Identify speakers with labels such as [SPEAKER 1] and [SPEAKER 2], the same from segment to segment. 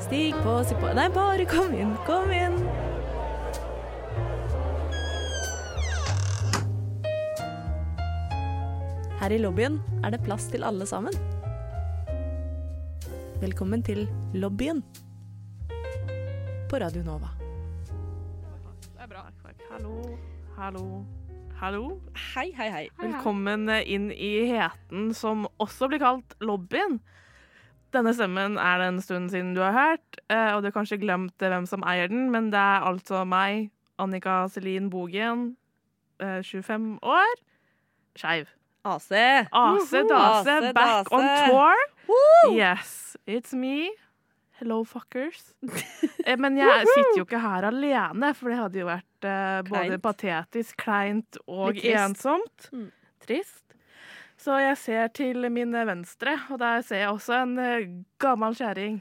[SPEAKER 1] Stig på, si på Nei, bare kom inn, kom inn. Her i lobbyen er det plass til alle sammen. Velkommen til lobbyen på Radio Nova.
[SPEAKER 2] Det er bra. Takk, takk. Hallo, hallo, hallo.
[SPEAKER 1] Hei, hei, hei.
[SPEAKER 2] Velkommen eh, inn i heten som også blir kalt lobbyen. Denne stemmen er det en stund siden du har hørt, eh, og du har kanskje glemt eh, hvem som eier den, men det er altså meg, Annika Celine Bogen, eh, 25 år, skeiv.
[SPEAKER 1] AC.
[SPEAKER 2] Ase
[SPEAKER 1] Uhu,
[SPEAKER 2] Dase,
[SPEAKER 1] Ase
[SPEAKER 2] back on
[SPEAKER 1] Dase.
[SPEAKER 2] tour. Yes, it's me. Hello, fuckers. Eh, Men jeg sitter jo ikke her alene, for det hadde jo vært eh, både
[SPEAKER 1] Kleint.
[SPEAKER 2] patetisk, kleint og
[SPEAKER 1] Litt trist.
[SPEAKER 2] ensomt.
[SPEAKER 1] Mm.
[SPEAKER 2] Trist. Så jeg ser til min venstre, og der ser jeg også en eh, gammel kjerring.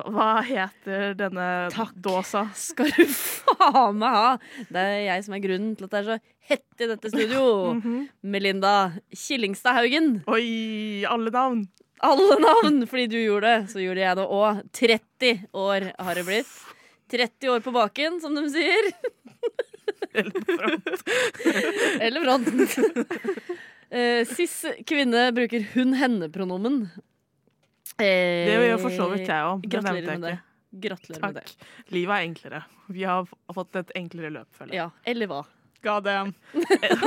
[SPEAKER 2] Hva heter denne
[SPEAKER 1] Takk.
[SPEAKER 2] dåsa?
[SPEAKER 1] Skal du faen meg ha! Det er jeg som er grunnen til at det er så hett i dette studio.
[SPEAKER 2] Mhm.
[SPEAKER 1] Melinda Killingstad Haugen.
[SPEAKER 2] Oi, alle navn!
[SPEAKER 1] Alle navn! Fordi du gjorde det, så gjorde jeg det òg. 30 år har det blitt. 30 år på baken, som de sier. Eller fronten. Eh, Cis kvinne bruker hun-henne-pronomen. Eh,
[SPEAKER 2] Det gjør for så vidt jeg òg.
[SPEAKER 1] Gratulerer med det. Gratulerer med det.
[SPEAKER 2] Takk. Livet er enklere. Vi har f- fått et enklere løp, føler jeg. Eh,
[SPEAKER 1] Ja, eller hva?
[SPEAKER 3] God damn.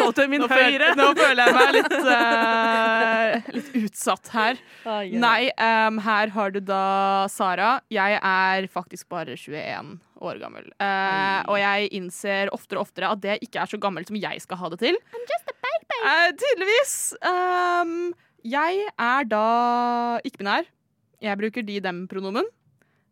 [SPEAKER 2] Og til min
[SPEAKER 3] Nå, føl
[SPEAKER 2] høyre!
[SPEAKER 3] nå føler jeg meg litt, eh, litt utsatt her.
[SPEAKER 1] Ai, ai.
[SPEAKER 3] Nei, em, her har du da Sara. Jeg er faktisk bare 21 år gammel. Eh, og jeg innser oftere og oftere at det ikke er så gammelt som jeg skal ha det til. I'm just a baby. tydeligvis. Em, jeg er da ikke-binær. Jeg bruker de-dem-pronomen.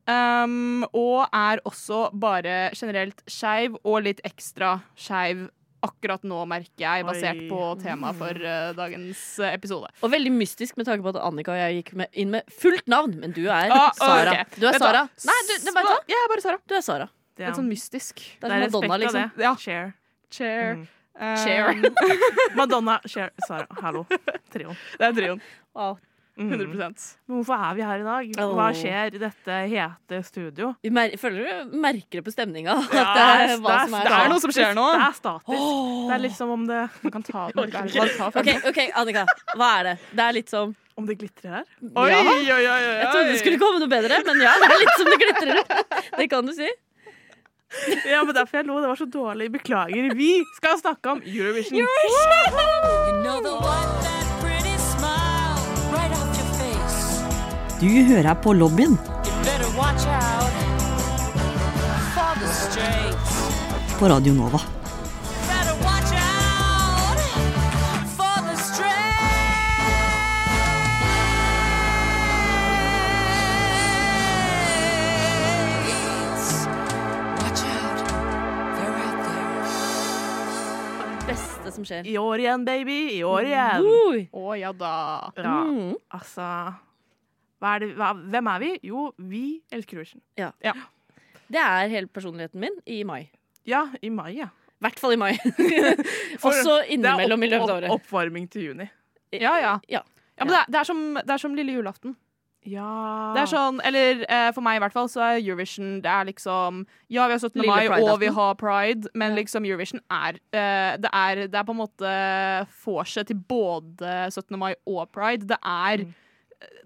[SPEAKER 3] Em, Ehm, og er også bare generelt skeiv og litt ekstra skeiv akkurat nå, merker jeg, basert
[SPEAKER 2] Oi.
[SPEAKER 3] på temaet for eh, dagens eh, episode.
[SPEAKER 1] Og veldig mystisk med tanke på at Annika og jeg gikk med, inn med fullt navn, men du er
[SPEAKER 3] Ah, ok.
[SPEAKER 1] Sara. Du er
[SPEAKER 3] Vet du hva?
[SPEAKER 1] Sara. Nei, du, det er bare, sånn.
[SPEAKER 3] Jeg er bare Sara.
[SPEAKER 1] du er Sara.
[SPEAKER 2] Det
[SPEAKER 3] Litt sånn mystisk.
[SPEAKER 1] Det er som Madonna, liksom.
[SPEAKER 2] av det.
[SPEAKER 3] Ja.
[SPEAKER 2] Cher.
[SPEAKER 3] Chair.
[SPEAKER 2] Mm.
[SPEAKER 3] Um,
[SPEAKER 2] Madonna, Cher, Sara. Hallo. Trioen.
[SPEAKER 3] det er trioen.
[SPEAKER 1] Wow.
[SPEAKER 2] Mm.
[SPEAKER 3] 100
[SPEAKER 2] Men hvorfor er vi her i dag?
[SPEAKER 1] Åh.
[SPEAKER 2] Hva skjer i dette hete studio?
[SPEAKER 1] Vi mer føler du merker det på stemninga. At
[SPEAKER 2] Ja,
[SPEAKER 1] det er hva som
[SPEAKER 3] det
[SPEAKER 1] er
[SPEAKER 3] er noe som skjer nå.
[SPEAKER 2] Det er statisk.
[SPEAKER 1] Åh.
[SPEAKER 2] Det er liksom om det,
[SPEAKER 3] Man kan ta
[SPEAKER 2] orker
[SPEAKER 3] den. Man kan ta
[SPEAKER 1] OK,
[SPEAKER 3] følelsen.
[SPEAKER 1] ok, Annika. Hva er det? Det er litt som
[SPEAKER 2] om det glitrer her.
[SPEAKER 3] Oi,
[SPEAKER 1] Ja,
[SPEAKER 3] oi, oi, oi.
[SPEAKER 1] jeg trodde det skulle komme noe bedre, men ja, det er litt som det glitrer. Det kan du si.
[SPEAKER 2] Ja, men derfor jeg lo. Det var så dårlig. Beklager. Vi skal snakke om Eurovision.
[SPEAKER 4] You know the one that pretty smile right off your face.
[SPEAKER 5] Du hører på lobbyen
[SPEAKER 4] You better watch out for the straits.
[SPEAKER 5] på Radio Nova.
[SPEAKER 4] Better watch out for the straits. Watch out, they're out there.
[SPEAKER 1] Beste som skjer.
[SPEAKER 2] I år igjen, baby. I år igjen.
[SPEAKER 1] Oi.
[SPEAKER 3] Å ja da.
[SPEAKER 2] Ja,
[SPEAKER 1] Mm.
[SPEAKER 2] altså hva er det, hva, Hvem er vi? Jo, vi elsker Eurovision.
[SPEAKER 1] Det er hele personligheten min i mai.
[SPEAKER 2] Ja, i mai, ja.
[SPEAKER 1] I hvert fall i mai. Også innimellom i løpet av
[SPEAKER 2] Det er
[SPEAKER 1] året.
[SPEAKER 2] opp- opp- oppvarming til juni.
[SPEAKER 3] Ja, ja.
[SPEAKER 1] Ja.
[SPEAKER 3] Ja, men det, er, det, er som, det er som lille julaften.
[SPEAKER 2] Ja.
[SPEAKER 3] Det er sånn, eller eh, For meg i hvert fall så er Eurovision det er liksom Ja, vi har 17.
[SPEAKER 1] Lille
[SPEAKER 3] mai, og
[SPEAKER 1] Pride-aften.
[SPEAKER 3] vi har pride, men
[SPEAKER 1] Ja.
[SPEAKER 3] liksom Eurovision er, eh, det er Det er på en måte vorset til både 17. mai og pride. Det er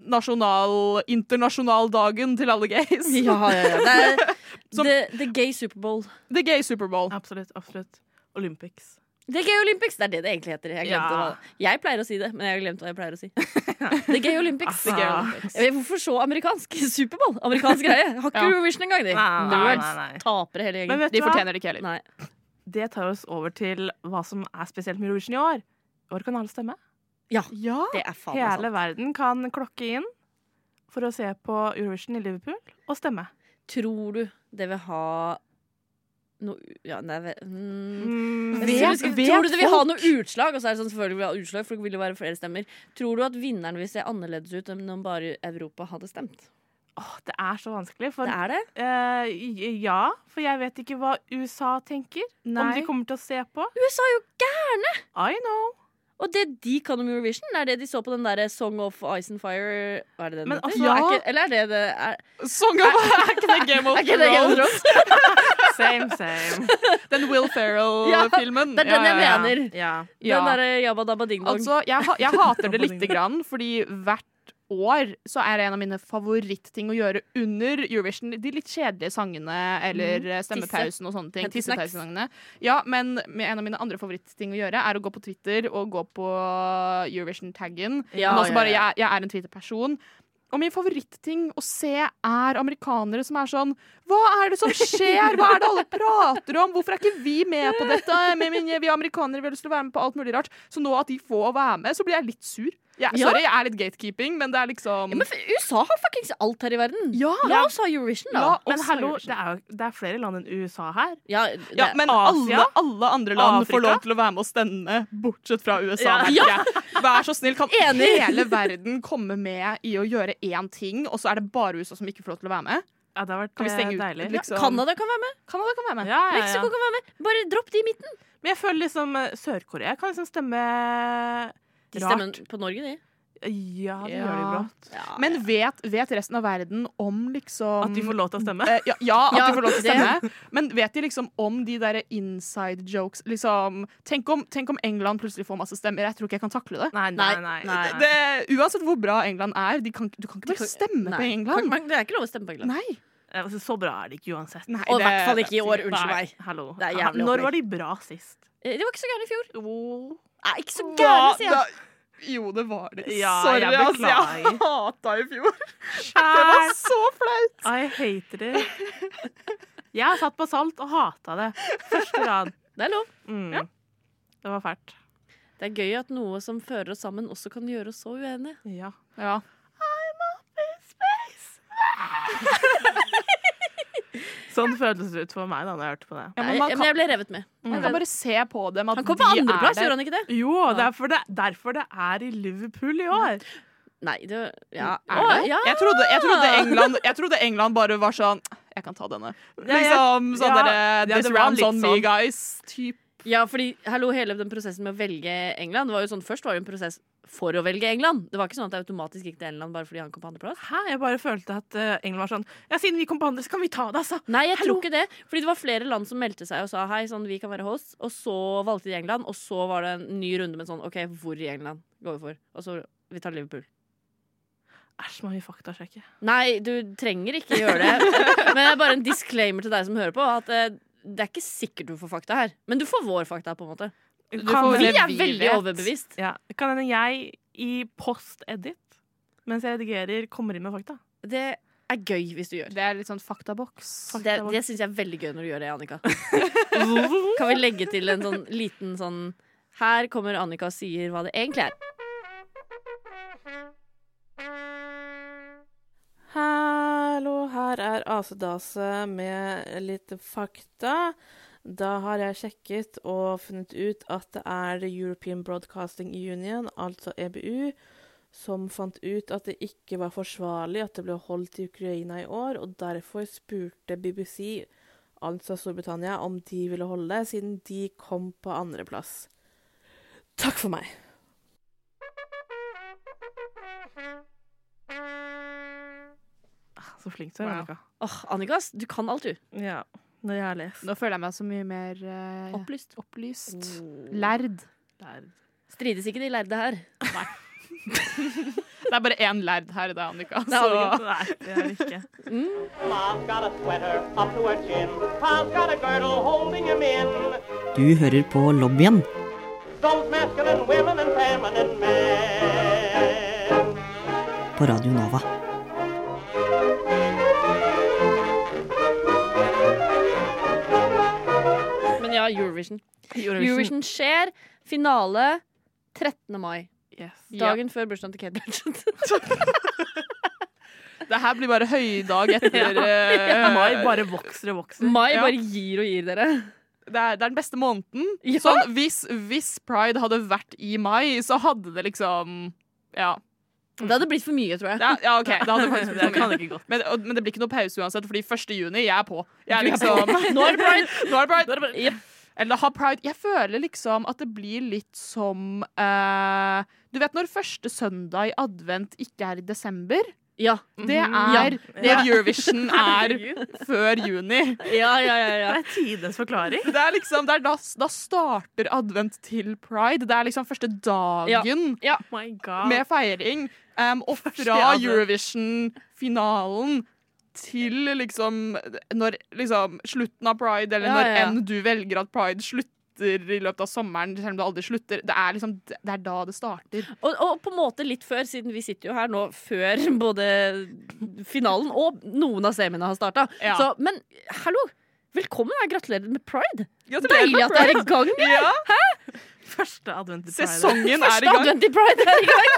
[SPEAKER 3] nasjonal internasjonaldagen til alle gays.
[SPEAKER 1] Ja, ja, ja. Det er
[SPEAKER 3] Som-
[SPEAKER 1] the, the Gay Superbowl.
[SPEAKER 3] The gay Superbowl.
[SPEAKER 2] Absolutt. absolutt. Olympics.
[SPEAKER 1] The Gay Olympics, det er det det egentlig heter. Jeg, glemte
[SPEAKER 2] Ja.
[SPEAKER 1] hva. jeg pleier å si det, men jeg har glemt hva jeg pleier å si. The Gay Olympics.
[SPEAKER 2] The Altså, Gay
[SPEAKER 3] Olympics.
[SPEAKER 1] Jeg vet, Hvorfor så amerikansk? Superbowl, amerikansk greie. Har ikke
[SPEAKER 3] Ja.
[SPEAKER 1] Eurovision engang, de.
[SPEAKER 2] Nei, nei, nei,
[SPEAKER 1] Nerds.
[SPEAKER 2] nei.
[SPEAKER 1] Tapere hele
[SPEAKER 2] Men
[SPEAKER 1] gjengen.
[SPEAKER 2] vet
[SPEAKER 3] De
[SPEAKER 2] du hva?
[SPEAKER 3] fortjener det ikke heller.
[SPEAKER 1] Nei.
[SPEAKER 2] Det tar oss over til hva som er spesielt med Eurovision i år. I år kan alle stemme.
[SPEAKER 3] Ja.
[SPEAKER 1] Det er faen meg
[SPEAKER 2] Hele
[SPEAKER 1] sant.
[SPEAKER 2] verden kan klokke inn for å se på Eurovision i Liverpool og stemme.
[SPEAKER 1] Tror du det vil ha noe ja, nei, ve- mm.
[SPEAKER 2] Mm.
[SPEAKER 1] Jeg skulle huske- Tror du det vil ha noe utslag? Og så er det sånn, selvfølgelig vil det ha utslag, for det vil jo være flere stemmer. Tror du at vinneren vil se annerledes ut enn om bare Europa hadde stemt?
[SPEAKER 2] Åh, det er så vanskelig. For,
[SPEAKER 1] Det er det.
[SPEAKER 2] eh, j- ja, for jeg vet ikke hva USA tenker. Om
[SPEAKER 3] Nei.
[SPEAKER 2] de kommer til å se på.
[SPEAKER 1] USA er jo
[SPEAKER 2] I know.
[SPEAKER 1] Og det de kan om Eurovision, er det de så på den derre Song of Ice and Fire Hva er det den
[SPEAKER 2] Men
[SPEAKER 1] heter?
[SPEAKER 2] altså,
[SPEAKER 1] Er
[SPEAKER 2] ja.
[SPEAKER 1] ikke, eller er det det er,
[SPEAKER 3] Song of Er ikke det Game of
[SPEAKER 1] er ikke det Game of
[SPEAKER 3] Thrones?
[SPEAKER 1] Thrones?
[SPEAKER 2] Same, same.
[SPEAKER 3] Den Will Ferrell-filmen.
[SPEAKER 1] Det er den jeg
[SPEAKER 3] Ja, ja, ja.
[SPEAKER 1] mener.
[SPEAKER 2] Ja.
[SPEAKER 1] Den derre Jabba Dabba Ding Dong.
[SPEAKER 3] Altså, jeg, ha- jeg hater det lite grann, fordi hvert år så er det en av mine favoritting å gjøre under Eurovision. De litt kjedelige sangene eller eh, stemmepausen og sånne ting.
[SPEAKER 1] Henty snacks.
[SPEAKER 3] Tissepausesangene. Ja, men med en av mine andre favoritting å gjøre er å gå på Twitter og gå på Eurovision-taggen.
[SPEAKER 1] Ja,
[SPEAKER 3] men
[SPEAKER 1] ja,
[SPEAKER 3] også bare,
[SPEAKER 1] ja.
[SPEAKER 3] jeg, jeg er en Twitter-person. Og min favoritting å se er amerikanere som er sånn Hva er det som skjer? Hva er det alle prater om? Hvorfor er ikke vi med på dette? Med min, vi amerikanere vi har lyst til å være med på alt mulig rart. Så nå at de får være med, så blir jeg litt sur. Jeg,
[SPEAKER 1] Ja.
[SPEAKER 3] Sorry, jeg er litt gatekeeping, men det er liksom
[SPEAKER 1] Ja, men f- USA har fuckings alt her i verden.
[SPEAKER 3] Ja.
[SPEAKER 1] La oss ha Eurovision, da.
[SPEAKER 3] Ja,
[SPEAKER 2] Men
[SPEAKER 3] også
[SPEAKER 2] hallo,
[SPEAKER 3] Eurovision.
[SPEAKER 2] det er, jo- det er flere land enn USA her.
[SPEAKER 1] Ja, det-
[SPEAKER 3] Ja, men
[SPEAKER 2] Asia?
[SPEAKER 3] alle, alle andre land
[SPEAKER 2] Afrika?
[SPEAKER 3] får lov til å være med og stemme, bortsett fra USA.
[SPEAKER 2] Ja.
[SPEAKER 3] merker jeg. Vær så snill, kan
[SPEAKER 1] Enig.
[SPEAKER 3] hele verden komme med i å gjøre én ting, og så er det bare USA som ikke får lov til å være med?
[SPEAKER 2] Ja, det har vært
[SPEAKER 3] Kan vi
[SPEAKER 2] eh,
[SPEAKER 3] stenge ut
[SPEAKER 2] deilig.
[SPEAKER 3] liksom?
[SPEAKER 1] Canada kan være med.
[SPEAKER 3] Canada kan være
[SPEAKER 2] Ja,
[SPEAKER 3] med.
[SPEAKER 2] ja, ja.
[SPEAKER 1] Mexico kan være med. Bare dropp de i midten.
[SPEAKER 2] Men jeg føler liksom eh, Sør-Korea kan liksom stemme
[SPEAKER 1] De
[SPEAKER 2] rart.
[SPEAKER 1] stemmer på Norge, de.
[SPEAKER 2] Ja, det
[SPEAKER 3] Ja.
[SPEAKER 2] gjør de brått.
[SPEAKER 3] Men vet, vet resten av verden om liksom
[SPEAKER 2] At de får lov til å stemme.
[SPEAKER 3] Eh, ja, ja, at
[SPEAKER 1] Ja,
[SPEAKER 3] de får lov til å
[SPEAKER 1] det-
[SPEAKER 3] stemme. Men vet de liksom om de derre inside jokes liksom, tenk, om, tenk om England plutselig får masse stemmer. Jeg tror ikke jeg kan takle det.
[SPEAKER 2] Nei, nei, nei.
[SPEAKER 1] Nei.
[SPEAKER 2] nei.
[SPEAKER 3] det uansett hvor bra England er, de kan, du kan ikke
[SPEAKER 1] De
[SPEAKER 3] bare
[SPEAKER 1] kan-
[SPEAKER 3] stemme på
[SPEAKER 1] Nei.
[SPEAKER 3] England.
[SPEAKER 1] Kan- Det er ikke lov å stemme på England.
[SPEAKER 3] Nei.
[SPEAKER 2] Altså, Så bra er det ikke uansett.
[SPEAKER 3] Nei,
[SPEAKER 1] Og i
[SPEAKER 3] det-
[SPEAKER 1] hvert fall ikke i år. Unnskyld
[SPEAKER 2] Nei,
[SPEAKER 1] meg.
[SPEAKER 2] Hallo.
[SPEAKER 1] Det er jævlig
[SPEAKER 2] Når
[SPEAKER 1] opplegg.
[SPEAKER 2] var de bra sist?
[SPEAKER 1] Eh, Det var ikke så gærent i fjor.
[SPEAKER 2] Oh.
[SPEAKER 1] Nei, ikke så
[SPEAKER 3] Hva
[SPEAKER 1] gærent, sier jeg.
[SPEAKER 3] da? Jo, det var det.
[SPEAKER 2] Ja,
[SPEAKER 3] Sorry,
[SPEAKER 2] jeg
[SPEAKER 3] altså. Jeg
[SPEAKER 2] beklager.
[SPEAKER 3] hata i fjor. Det var
[SPEAKER 2] Kjært!
[SPEAKER 3] så flaut.
[SPEAKER 2] I hater it. Jeg har satt på salt og hata det. Første rad.
[SPEAKER 1] Det er lov.
[SPEAKER 2] Mm.
[SPEAKER 1] Ja.
[SPEAKER 2] Det var fælt.
[SPEAKER 1] Det er gøy at noe som fører oss sammen, også kan gjøre oss så uenige.
[SPEAKER 2] Ja.
[SPEAKER 3] Ja.
[SPEAKER 2] Sånn føltes det ut for meg da når jeg hørte på det.
[SPEAKER 1] Nei,
[SPEAKER 3] Ja, men
[SPEAKER 1] men,
[SPEAKER 3] man kan,
[SPEAKER 1] jeg ble revet med.
[SPEAKER 3] man kan bare se på dem at
[SPEAKER 1] Han kom
[SPEAKER 3] de
[SPEAKER 1] på
[SPEAKER 3] er
[SPEAKER 1] andreplass,
[SPEAKER 3] der.
[SPEAKER 1] gjorde han ikke det?
[SPEAKER 2] Jo, derfor det, derfor det er i Liverpool i år.
[SPEAKER 1] Nei, det ja.
[SPEAKER 3] Er
[SPEAKER 1] Å,
[SPEAKER 3] det?
[SPEAKER 1] Ja.
[SPEAKER 3] Jeg, trodde, jeg, trodde England, jeg trodde England bare var sånn Jeg kan ta denne. Liksom sånn
[SPEAKER 2] ja, ja,
[SPEAKER 3] dere
[SPEAKER 2] det
[SPEAKER 3] This
[SPEAKER 2] var
[SPEAKER 3] round's
[SPEAKER 2] litt
[SPEAKER 3] on me,
[SPEAKER 2] sånn.
[SPEAKER 3] guys. Typ.
[SPEAKER 1] ja, fordi hallo, hele den prosessen med å velge England var jo sånn, Først var det en prosess for å velge England. Det var ikke sånn at det automatisk gikk til England bare fordi han kom på andreplass.
[SPEAKER 2] Hæ? Jeg bare følte at eh, England var sånn Ja, siden vi kom på andre, så kan vi ta det, altså.
[SPEAKER 1] Nei, jeg
[SPEAKER 2] Hallo?
[SPEAKER 1] tror ikke det. Fordi det var flere land som meldte seg og sa hei, sånn, vi kan være host. Og så valgte de England, og så var det en ny runde med sånn OK, hvor i England går vi for? Og så vi tar Liverpool.
[SPEAKER 2] Æsj, må vi faktasjekke.
[SPEAKER 1] Nei, du trenger ikke gjøre det. Men det er bare en disclaimer til deg som hører på. At eh, det er ikke sikkert du får fakta her. Men du får vår fakta, på en måte.
[SPEAKER 2] Kan
[SPEAKER 3] får
[SPEAKER 1] Vi
[SPEAKER 2] hende-
[SPEAKER 3] det
[SPEAKER 1] er
[SPEAKER 3] vi
[SPEAKER 1] veldig
[SPEAKER 3] vet.
[SPEAKER 1] overbevist.
[SPEAKER 2] ja, kan hende jeg i post-edit mens jeg redigerer, kommer inn med fakta.
[SPEAKER 1] Det er gøy hvis du gjør det.
[SPEAKER 3] Det er litt sånn faktaboks.
[SPEAKER 1] Det, det syns jeg er veldig gøy når du gjør det, Annika. Kan vi legge til en sånn liten sånn Her kommer Annika og sier hva det egentlig er.
[SPEAKER 6] Hallo, her er Asedase med litt fakta. Da har jeg sjekket og funnet ut at det er European Broadcasting Union, altså EBU, som fant ut at det ikke var forsvarlig at det ble holdt i Ukraina i år, og derfor spurte BBC, altså Storbritannia, om de ville holde det, siden de kom på andreplass. Takk for meg.
[SPEAKER 2] Så flink du er,
[SPEAKER 3] Wow.
[SPEAKER 2] Annika.
[SPEAKER 1] Åh, Annika, ass, du kan alt, du.
[SPEAKER 2] Ja, når jeg har lest.
[SPEAKER 3] Nå føler jeg meg så mye mer eh,
[SPEAKER 1] Opplyst.
[SPEAKER 3] opplyst.
[SPEAKER 2] Oh.
[SPEAKER 3] Lærd.
[SPEAKER 2] Der.
[SPEAKER 1] Strides ikke de lærde her.
[SPEAKER 3] Det er bare én lærd her i dag, Annika.
[SPEAKER 1] Det er Annika.
[SPEAKER 3] Så.
[SPEAKER 2] Nei, det er det ikke.
[SPEAKER 7] Ma's got a sweater up to her chin. Pa's got a girdle holding him in.
[SPEAKER 5] Du hører på lobbyen.
[SPEAKER 7] Those masculine women and feminine men.
[SPEAKER 5] På Radio Nova.
[SPEAKER 1] Men ja, Eurovision.
[SPEAKER 2] Eurovision.
[SPEAKER 1] Eurovision skjer. Finale 13. mai.
[SPEAKER 2] Yes.
[SPEAKER 1] Dagen før bursdagen til Kate Blanchett.
[SPEAKER 3] Det her blir bare høydag etter eh,
[SPEAKER 2] Mai bare vokser og vokser.
[SPEAKER 1] Mai
[SPEAKER 3] Ja.
[SPEAKER 1] bare gir og gir dere.
[SPEAKER 3] det er, det er den beste måneden.
[SPEAKER 1] Ja.
[SPEAKER 3] Sånn, hvis, hvis pride hadde vært i mai, så hadde det liksom Ja,
[SPEAKER 1] Det hadde blitt for mye, tror jeg.
[SPEAKER 3] ja, ja OK. Det hadde faktisk
[SPEAKER 2] Det
[SPEAKER 3] blitt for
[SPEAKER 2] kan
[SPEAKER 3] mye.
[SPEAKER 2] ikke gått.
[SPEAKER 3] Men, og, men det blir ikke noe pause uansett, fordi 1. juni, jeg er på. Jeg er liksom,
[SPEAKER 1] Nå er det pride.
[SPEAKER 3] Nå er det pride.
[SPEAKER 1] Jep.
[SPEAKER 3] Eller ha pride. Jeg føler liksom at det blir litt som eh, Du vet når første søndag i advent ikke er i desember?
[SPEAKER 1] Ja.
[SPEAKER 3] Det er
[SPEAKER 1] Ja.
[SPEAKER 3] når Eurovision er før juni.
[SPEAKER 1] Ja, ja, ja, ja.
[SPEAKER 2] Det er tidenes forklaring.
[SPEAKER 3] Det er liksom, det er da, da starter advent til pride. Det er liksom første dagen
[SPEAKER 2] Oh my god.
[SPEAKER 3] med feiring. em, og fra
[SPEAKER 2] advent.
[SPEAKER 3] Eurovision-finalen til liksom Når liksom slutten av pride, eller
[SPEAKER 1] Ja,
[SPEAKER 3] når
[SPEAKER 1] ja, ja.
[SPEAKER 3] enn du velger at pride slutter i løpet av sommeren, selv om det aldri slutter. Det er liksom, det er da det starter.
[SPEAKER 1] Og, og på en måte litt før, siden vi sitter jo her nå før både finalen og noen av semiene har starta.
[SPEAKER 3] Ja.
[SPEAKER 1] Så, men hallo! Velkommen og gratulerer med pride!
[SPEAKER 3] Gratulerer
[SPEAKER 1] Deilig
[SPEAKER 3] med
[SPEAKER 1] at dere er i
[SPEAKER 3] pride!
[SPEAKER 1] gang!
[SPEAKER 3] Ja,
[SPEAKER 2] Første advent til Pride.
[SPEAKER 3] sesongen er i
[SPEAKER 1] Første
[SPEAKER 3] gang.
[SPEAKER 1] advent i pride er i gang!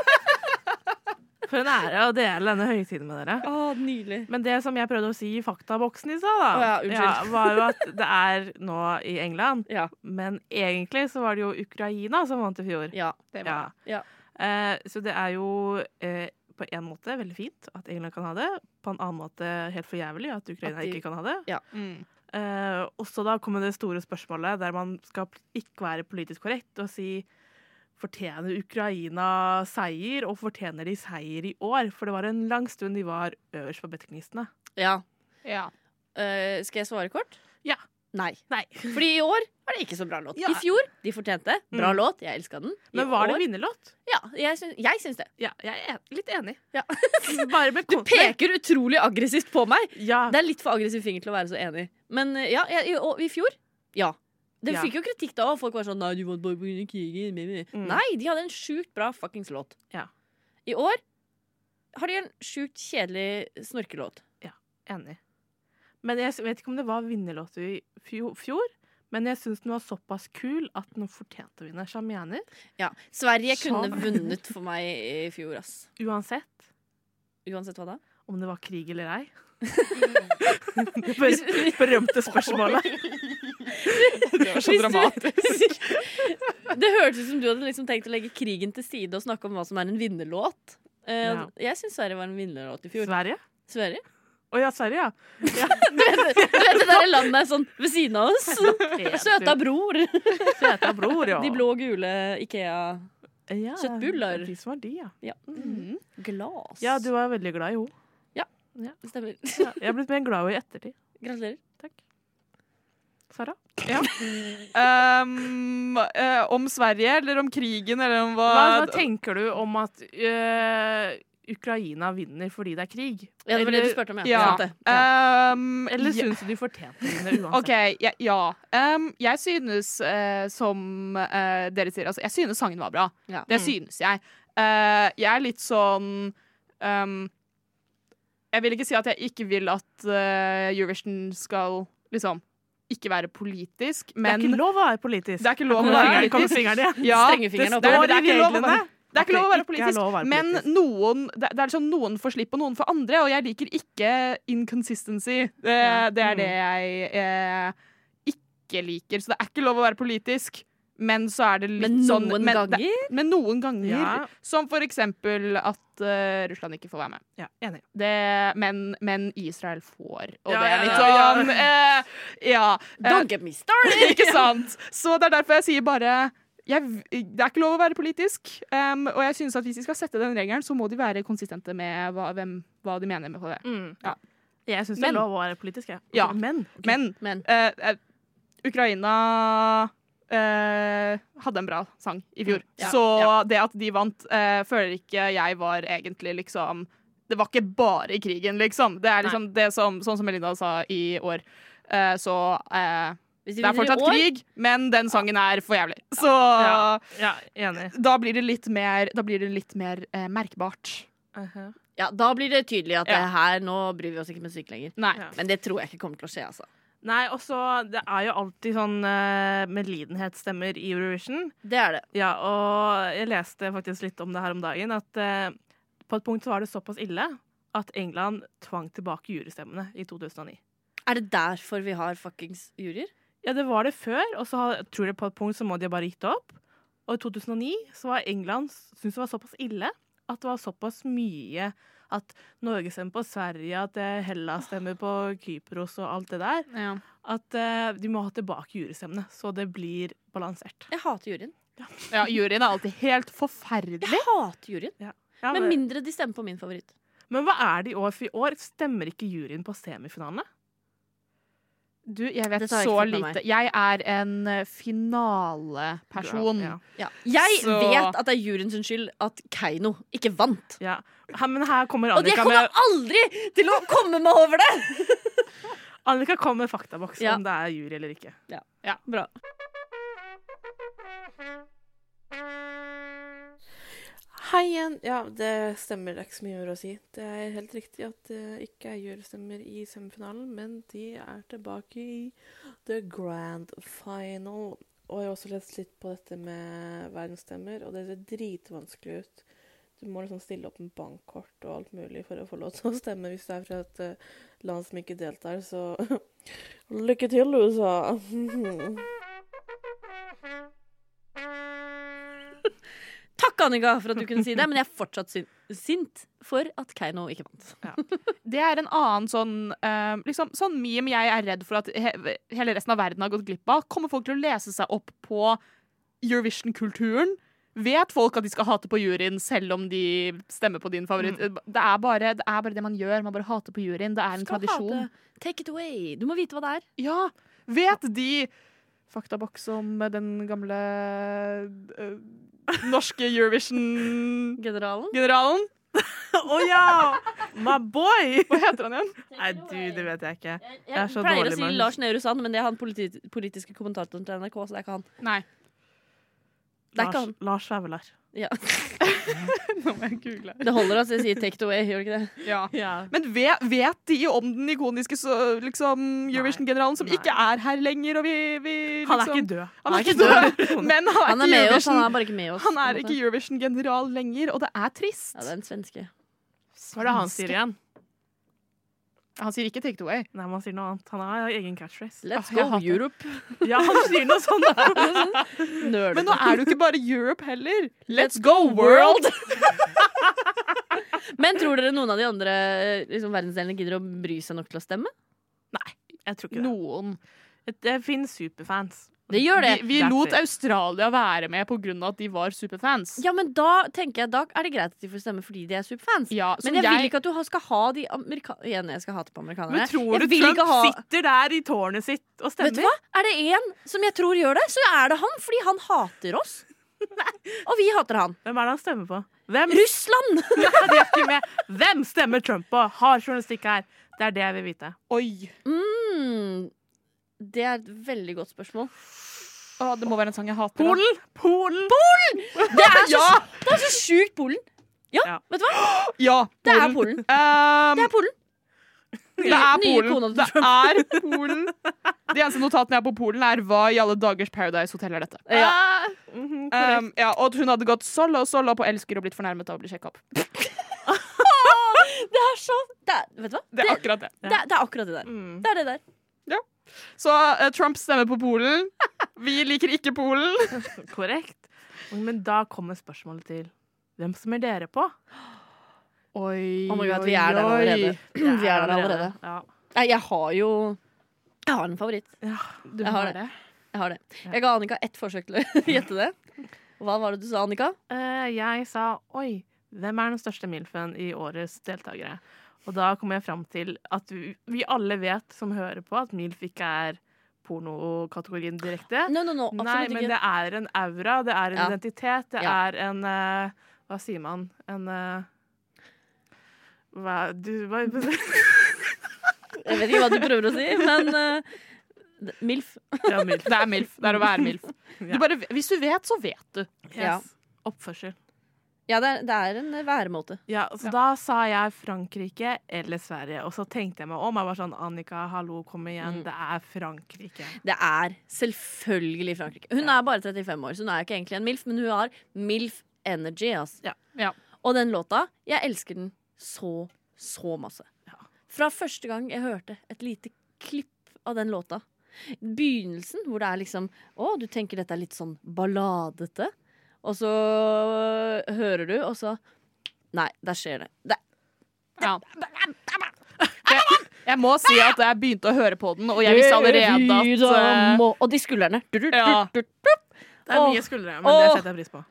[SPEAKER 2] For en ære å dele denne høytiden med dere.
[SPEAKER 1] Å, nydelig.
[SPEAKER 2] Men det som jeg prøvde å si i faktaboksen i stad, da,
[SPEAKER 1] Å ja, unnskyld.
[SPEAKER 2] var jo at det er nå i England.
[SPEAKER 1] Ja.
[SPEAKER 2] Men egentlig så var det jo Ukraina som vant i fjor.
[SPEAKER 1] Ja.
[SPEAKER 3] Det var-
[SPEAKER 2] Ja.
[SPEAKER 1] Ja.
[SPEAKER 2] Eh, så det er jo eh, på en måte veldig fint at England kan ha det. På en annen måte helt for jævlig at Ukraina
[SPEAKER 1] At de-
[SPEAKER 2] ikke kan ha det.
[SPEAKER 3] Mm.
[SPEAKER 2] Eh, også da kommer det store spørsmålet der man skal ikke være politisk korrekt og si Fortjener Ukraina seier, og fortjener de seier i år? For det var en lang stund de var øverst på bettingslistene.
[SPEAKER 1] ja.
[SPEAKER 3] Ja.
[SPEAKER 1] Eh, skal jeg svare kort?
[SPEAKER 2] Ja.
[SPEAKER 1] Nei.
[SPEAKER 2] Nei.
[SPEAKER 1] Fordi i år var det ikke så bra låt.
[SPEAKER 2] Ja.
[SPEAKER 1] I fjor de fortjente. Bra
[SPEAKER 2] Mm.
[SPEAKER 1] låt, jeg elska den. I
[SPEAKER 2] Men var det
[SPEAKER 1] år-
[SPEAKER 2] en vinnerlåt?
[SPEAKER 1] Ja, jeg syns, jeg syns det.
[SPEAKER 2] Ja, jeg er e- litt enig.
[SPEAKER 1] Ja.
[SPEAKER 2] Bare med
[SPEAKER 1] Du peker utrolig aggressivt på meg.
[SPEAKER 2] Ja.
[SPEAKER 1] Det er litt for aggressiv finger til å være så enig. Men eh, ja, jeg, og i fjor ja. De
[SPEAKER 2] Ja.
[SPEAKER 1] fikk jo kritikk da, og folk var sånn Nei, du vant bare på grunn av krigen. meh, meh, meh».
[SPEAKER 2] Mm.
[SPEAKER 1] Nei, de hadde en sjukt bra fuckings låt.
[SPEAKER 2] Ja.
[SPEAKER 1] I år har de en sjukt kjedelig snorkelåt.
[SPEAKER 2] Enig. Men jeg s- vet ikke om det var vinnerlåt i fjo- fjor. Men jeg syns den var såpass kul at den fortjente å vinne. Sjamener.
[SPEAKER 1] Ja. Sverige kunne
[SPEAKER 2] Sånn.
[SPEAKER 1] vunnet for meg i fjor, ass.
[SPEAKER 2] Uansett
[SPEAKER 1] Uansett hva da.
[SPEAKER 2] om det var krig eller ei. Ber berømte spørsmålet.
[SPEAKER 3] Det var så
[SPEAKER 1] Hvis du-
[SPEAKER 3] dramatisk.
[SPEAKER 1] Det hørtes ut som du hadde liksom tenkt å legge krigen til side og snakke om hva som er en vinnerlåt. Eh,
[SPEAKER 2] Ja.
[SPEAKER 1] Jeg syns Sverige var en vinnerlåt i fjor.
[SPEAKER 2] Sverige?
[SPEAKER 1] Sverige?
[SPEAKER 2] Å ja, Sverige, ja.
[SPEAKER 1] Du vet det der landet sånn ved siden av oss? Søta bror.
[SPEAKER 2] Søta bror, ja.
[SPEAKER 1] De blå og gule Ikea.
[SPEAKER 2] ja.
[SPEAKER 1] Søtbuller.
[SPEAKER 2] De som var de, ja.
[SPEAKER 3] Mm.
[SPEAKER 1] Glas.
[SPEAKER 2] Ja, du var veldig glad i henne.
[SPEAKER 1] Stemmer.
[SPEAKER 2] Ja, jeg er blitt mer glad i henne i ettertid.
[SPEAKER 1] Gratulerer.
[SPEAKER 2] Takk. Sara?
[SPEAKER 3] Um, eh, om Sverige, eller om krigen, eller om hva,
[SPEAKER 2] Hva, hva tenker du om at øh, Ukraina vinner fordi det er krig?
[SPEAKER 1] Ja, det var det du
[SPEAKER 2] Eller-
[SPEAKER 1] spurte om, ja.
[SPEAKER 3] Ja.
[SPEAKER 1] Sant det.
[SPEAKER 3] Um,
[SPEAKER 2] Eller
[SPEAKER 3] ja.
[SPEAKER 2] syns du de fortjente å vinne uansett?
[SPEAKER 3] OK, ja. ja. Um, jeg synes, eh, som eh, dere sier, altså, jeg synes sangen var bra.
[SPEAKER 1] Ja.
[SPEAKER 2] Mm.
[SPEAKER 3] Det synes jeg. Eh, jeg er litt sånn um, Jeg vil ikke si at jeg ikke vil at eh, Eurovision skal liksom ikke være politisk,
[SPEAKER 2] det er
[SPEAKER 3] men
[SPEAKER 2] ikke lov å være politisk.
[SPEAKER 3] det er ikke lov å
[SPEAKER 2] Kom
[SPEAKER 3] være
[SPEAKER 2] fingeren, kom
[SPEAKER 3] politisk.
[SPEAKER 2] fingeren igjen.
[SPEAKER 3] Ja,
[SPEAKER 1] Strenge
[SPEAKER 3] det
[SPEAKER 1] fingeren opp.
[SPEAKER 3] står
[SPEAKER 2] Står
[SPEAKER 3] i
[SPEAKER 2] i reglene.
[SPEAKER 3] reglene. Det er ikke lov å være
[SPEAKER 2] At det ikke er
[SPEAKER 3] politisk,
[SPEAKER 2] lov å være
[SPEAKER 3] men
[SPEAKER 2] politisk.
[SPEAKER 3] noen, det, det er liksom noen for slipp og noen for andre, og jeg liker ikke inconsistency. Det, det er det
[SPEAKER 2] Mm.
[SPEAKER 3] jeg eh, ikke liker. Så det er ikke lov å være politisk, men så er det litt
[SPEAKER 1] Men
[SPEAKER 3] sånn
[SPEAKER 1] noen
[SPEAKER 3] men, det-
[SPEAKER 1] ganger
[SPEAKER 3] men noen ganger.
[SPEAKER 2] Ja.
[SPEAKER 3] Som for eksempel at eh, Russland ikke får være med.
[SPEAKER 2] Ja, enig.
[SPEAKER 3] Det, men, men Israel får, og
[SPEAKER 2] Ja,
[SPEAKER 3] det er
[SPEAKER 2] ja,
[SPEAKER 3] litt
[SPEAKER 2] ja, ja.
[SPEAKER 3] sånn eh, Ja. Eh,
[SPEAKER 1] Don't get me started!
[SPEAKER 3] ikke sant? Så det er derfor jeg sier bare jeg, Det er ikke lov å være politisk. em, og jeg synes at hvis de skal sette den regelen, så må de være konsistente med hva, hvem, hva de mener med det.
[SPEAKER 2] Mm.
[SPEAKER 3] Ja.
[SPEAKER 2] Jeg syns det
[SPEAKER 3] Men-
[SPEAKER 2] er lov å være politisk, jeg.
[SPEAKER 3] Ja.
[SPEAKER 2] Men
[SPEAKER 3] Men
[SPEAKER 1] Men
[SPEAKER 3] eh, eh, Ukraina eh, hadde en bra sang i fjor.
[SPEAKER 1] Mm, Ja,
[SPEAKER 3] så det at de vant, eh, føler ikke jeg var egentlig liksom Det var ikke bare i krigen, liksom. Det er liksom det som, sånn som Melinda sa i år. eh, så eh,
[SPEAKER 1] hvis de
[SPEAKER 3] det er
[SPEAKER 1] vinner i
[SPEAKER 3] fortsatt
[SPEAKER 1] år
[SPEAKER 3] krig, men den sangen er for jævlig. Så
[SPEAKER 2] Ja, ja enig.
[SPEAKER 3] da blir det litt mer, da blir det litt mer eh, merkbart.
[SPEAKER 2] Uh-huh.
[SPEAKER 1] Ja, Da blir det tydelig at
[SPEAKER 3] Ja.
[SPEAKER 1] det her nå bryr vi oss ikke med musikk lenger.
[SPEAKER 3] Nei.
[SPEAKER 2] Ja.
[SPEAKER 1] Men det tror jeg ikke kommer til å skje, altså.
[SPEAKER 2] Nei, og så Det er jo alltid sånn uh, medlidenhetsstemmer i Eurovision.
[SPEAKER 1] Det er det.
[SPEAKER 2] Ja, og jeg leste faktisk litt om det her om dagen, at eh, på et punkt så var det såpass ille at England tvang tilbake jurystemmene i 2009.
[SPEAKER 1] Er det derfor vi har fuckings juryer?
[SPEAKER 2] Ja, det var det før, og så har- tror jeg på et punkt så må de ha bare gitt opp. Og i 2009 så var England syntes det var såpass ille at det var såpass mye at Norge stemmer på Sverige, at eh, Hellas stemmer på Kypros og alt det der,
[SPEAKER 3] Ja.
[SPEAKER 2] at eh, de må ha tilbake jurystemmene, så det blir balansert.
[SPEAKER 1] Jeg hater juryen.
[SPEAKER 3] ja, juryen er alltid helt forferdelig.
[SPEAKER 1] Jeg hater juryen.
[SPEAKER 2] Ja,
[SPEAKER 1] Med
[SPEAKER 2] men,
[SPEAKER 1] mindre de stemmer på min favoritt.
[SPEAKER 2] men hva er det i år? For i år stemmer ikke juryen på semifinalene.
[SPEAKER 3] Du, jeg vet
[SPEAKER 1] Dette har jeg
[SPEAKER 3] så
[SPEAKER 1] ikke fått med
[SPEAKER 3] lite.
[SPEAKER 1] meg.
[SPEAKER 3] Jeg er en eh, finaleperson.
[SPEAKER 2] Ja.
[SPEAKER 1] Jeg
[SPEAKER 3] Så-
[SPEAKER 1] vet at det er juryen sin skyld at Keiino ikke vant.
[SPEAKER 2] Ja. Her, men her kommer
[SPEAKER 1] Og de
[SPEAKER 2] Annika
[SPEAKER 1] kommer
[SPEAKER 2] med
[SPEAKER 1] aldri til å komme meg over det!
[SPEAKER 2] Annika kom med faktaboks
[SPEAKER 1] Ja.
[SPEAKER 2] om det er jury eller ikke.
[SPEAKER 1] Bra.
[SPEAKER 6] Hei igjen! Ja, det stemmer. Det er ikke så mye mer å si. Det er helt riktig at det ikke er jurystemmer i semifinalen, men de er tilbake i the grand final. Og jeg har også lest litt på dette med verdensstemmer, og det ser dritvanskelig ut. Du må liksom stille opp med bankkort og alt mulig for å få lov til å stemme hvis du er fra et eh, land som ikke deltar, så lykke til, USA!
[SPEAKER 1] Takk, Annika, for at du kunne si det, men jeg er fortsatt sin sint for at Keiino ikke vant.
[SPEAKER 3] Det er en annen sånn, eh, liksom, sånn meme jeg er redd for at he hele resten av verden har gått glipp av. Kommer folk til å lese seg opp på Eurovision-kulturen? Vet folk at de skal hate på juryen selv om de stemmer på din favoritt? Det, er bare, det er bare det man gjør. Man bare hater på juryen. Det er en tradisjon.
[SPEAKER 1] eh, Take it away. Du må vite hva det er.
[SPEAKER 3] Ja! Vet de faktaboks om den gamle eh, norske Eurovision-generalen?
[SPEAKER 1] Generalen.
[SPEAKER 2] Å ja! My boy!
[SPEAKER 3] Hva heter han igjen?
[SPEAKER 2] Nei, du, det vet jeg ikke.
[SPEAKER 1] Jeg,
[SPEAKER 2] er så
[SPEAKER 1] pleier
[SPEAKER 2] dårlig
[SPEAKER 1] å si
[SPEAKER 2] med-
[SPEAKER 1] Lars Nehru Sand, men det er han politi politiske kommentatoren til NRK, så det er ikke han.
[SPEAKER 3] Nei.
[SPEAKER 1] Det er ikke han.
[SPEAKER 2] Lars, Lars Vaular.
[SPEAKER 1] Ja.
[SPEAKER 3] Nå må jeg google.
[SPEAKER 1] Det holder at jeg sier take it away, gjør det ikke det?
[SPEAKER 3] Ja.
[SPEAKER 2] Ja.
[SPEAKER 3] Men vet, vet de om den ikoniske så- liksom, Eurovision-generalen som
[SPEAKER 2] Nei.
[SPEAKER 3] ikke er her lenger? Og vi, vi, liksom,
[SPEAKER 2] Han er ikke død.
[SPEAKER 3] Han er ikke død, men han er,
[SPEAKER 1] Han er med oss,
[SPEAKER 3] ikke
[SPEAKER 1] han
[SPEAKER 3] Eurovision.
[SPEAKER 1] er bare ikke med oss.
[SPEAKER 3] Han
[SPEAKER 1] på en
[SPEAKER 3] er
[SPEAKER 1] måte.
[SPEAKER 3] ikke Eurovision-general lenger, og det er trist.
[SPEAKER 1] Ja, det er en svenske.
[SPEAKER 2] Hva er det han sier igjen?
[SPEAKER 3] Han sier ikke 'take it away'.
[SPEAKER 2] Nei, men han sier noe annet. Han har egen catchphrase.
[SPEAKER 1] Let's
[SPEAKER 3] Åh, jeg
[SPEAKER 1] go
[SPEAKER 3] hater-
[SPEAKER 1] Europe.
[SPEAKER 2] Ja, han sier noe sånt.
[SPEAKER 1] Nerd.
[SPEAKER 3] Men nå er det jo ikke bare Europe heller. Let's go, world!
[SPEAKER 1] Men tror dere noen av de andre eh, liksom, verdensdelene gidder å bry seg nok til å stemme?
[SPEAKER 2] Jeg tror ikke det.
[SPEAKER 3] Noen.
[SPEAKER 2] Det finnes superfans.
[SPEAKER 1] Det gjør det.
[SPEAKER 3] Vi, vi
[SPEAKER 2] Derfor.
[SPEAKER 3] lot Australia være med pga. at de var superfans.
[SPEAKER 1] Ja, men da tenker jeg da er det greit at de får stemme fordi de er superfans.
[SPEAKER 3] Ja, som
[SPEAKER 1] men jeg, vil ikke at du ha- skal ha de amerika... Igjen, jeg skal hate på amerikanerne.
[SPEAKER 2] Men tror du
[SPEAKER 1] jeg vil
[SPEAKER 2] Trump
[SPEAKER 1] ikke ha...
[SPEAKER 2] sitter der i tårnet sitt og
[SPEAKER 1] Vet du
[SPEAKER 2] stemmer?
[SPEAKER 1] hva? Er det én som jeg tror gjør det, så er det han. Fordi han hater oss. Og vi hater han.
[SPEAKER 2] Hvem er det han stemmer på? Hvem,
[SPEAKER 1] Russland!
[SPEAKER 2] Ja, det er ikke med. Hvem stemmer Trump på? Har journalistikk her. Det er det jeg vil vite.
[SPEAKER 3] Oi.
[SPEAKER 1] Mm, det er et veldig godt spørsmål.
[SPEAKER 3] Å, det må være en sang jeg hater. da.
[SPEAKER 2] Polen! Polen!
[SPEAKER 1] Det er så,
[SPEAKER 3] Ja!
[SPEAKER 1] det er så sjukt Polen. Ja,
[SPEAKER 2] Ja.
[SPEAKER 1] vet du hva?
[SPEAKER 3] Ja,
[SPEAKER 1] Det er Polen.
[SPEAKER 3] Ehm,
[SPEAKER 1] Det er Polen.
[SPEAKER 3] Det er
[SPEAKER 1] Nye kona
[SPEAKER 3] Polen.
[SPEAKER 1] til
[SPEAKER 3] Det er Polen. De eneste notatene jeg har på Polen, er hva i alle dagers Paradise Hotel er dette?
[SPEAKER 1] Ja.
[SPEAKER 3] Ehm, ja, og at hun hadde gått soll og soll opp og elsker og blitt fornærmet av å bli sjekka opp.
[SPEAKER 1] Det er så det er, Vet du hva?
[SPEAKER 3] Det er akkurat det.
[SPEAKER 1] det, er- det er akkurat det der. Det er det der.
[SPEAKER 3] Så eh, Trump stemmer på Polen. Vi liker ikke Polen.
[SPEAKER 2] Korrekt. Men da kommer spørsmålet til hvem stemmer dere på?
[SPEAKER 3] Oi,
[SPEAKER 1] Oh my God, vi er der allerede. Vi er der allerede.
[SPEAKER 2] Ja.
[SPEAKER 1] Nei, jeg har jo Jeg har en favoritt.
[SPEAKER 3] Du
[SPEAKER 1] Jeg har
[SPEAKER 3] har det.
[SPEAKER 1] Jeg har det. Jeg ga Annika ett forsøk til å gjette det. Hva var det du sa, Annika?
[SPEAKER 2] Eh, jeg sa oi, hvem er den største milfen i årets deltakere? Og da kom jeg fram til at vi, vi alle vet som hører på, at milf ikke er pornokategorien direkte.
[SPEAKER 1] No, no, no,
[SPEAKER 2] Nei,
[SPEAKER 1] absolutt
[SPEAKER 2] men
[SPEAKER 1] ikke.
[SPEAKER 2] det er en aura, det er en
[SPEAKER 1] Ja.
[SPEAKER 2] identitet, det
[SPEAKER 1] Ja.
[SPEAKER 2] er en eh, Hva sier man? En eh, hva, du, hva,
[SPEAKER 1] Jeg vet ikke hva du prøver å si, men eh, det- MILF.
[SPEAKER 2] Det er milf.
[SPEAKER 3] Det er MILF. Det er å være MILF.
[SPEAKER 2] Ja.
[SPEAKER 3] Du bare, hvis du vet, så vet du.
[SPEAKER 2] Yes.
[SPEAKER 1] Ja.
[SPEAKER 2] Oppførsel.
[SPEAKER 1] Ja, det er, det er en eh, væremåte.
[SPEAKER 2] Ja, så da sa jeg Frankrike eller Sverige, og så tenkte jeg meg om. Jeg var sånn Annika, hallo, kom igjen,
[SPEAKER 1] Mm.
[SPEAKER 2] det er Frankrike.
[SPEAKER 1] Det er selvfølgelig Frankrike. Hun er bare 35 år, så hun er ikke egentlig en MILF, men hun har MILF energy. ass.
[SPEAKER 2] Ja.
[SPEAKER 3] Ja.
[SPEAKER 1] Og den låta, jeg elsker den så, så masse. Fra første gang jeg hørte et lite klipp av den låta. Begynnelsen, hvor det er liksom Å, du tenker dette er litt sånn balladete. øh, Og så hører du, og så Nei, der skjer det. det.
[SPEAKER 3] Ja. Jeg, jeg må si at jeg begynte å høre på den, og jeg visste allerede at eh,
[SPEAKER 1] øh, Og de skuldrene. Du, du, du,
[SPEAKER 3] Ja.
[SPEAKER 1] du, du.
[SPEAKER 2] Det er
[SPEAKER 1] Åh.
[SPEAKER 2] mye skuldre, men det
[SPEAKER 1] Åh.
[SPEAKER 2] setter jeg pris på.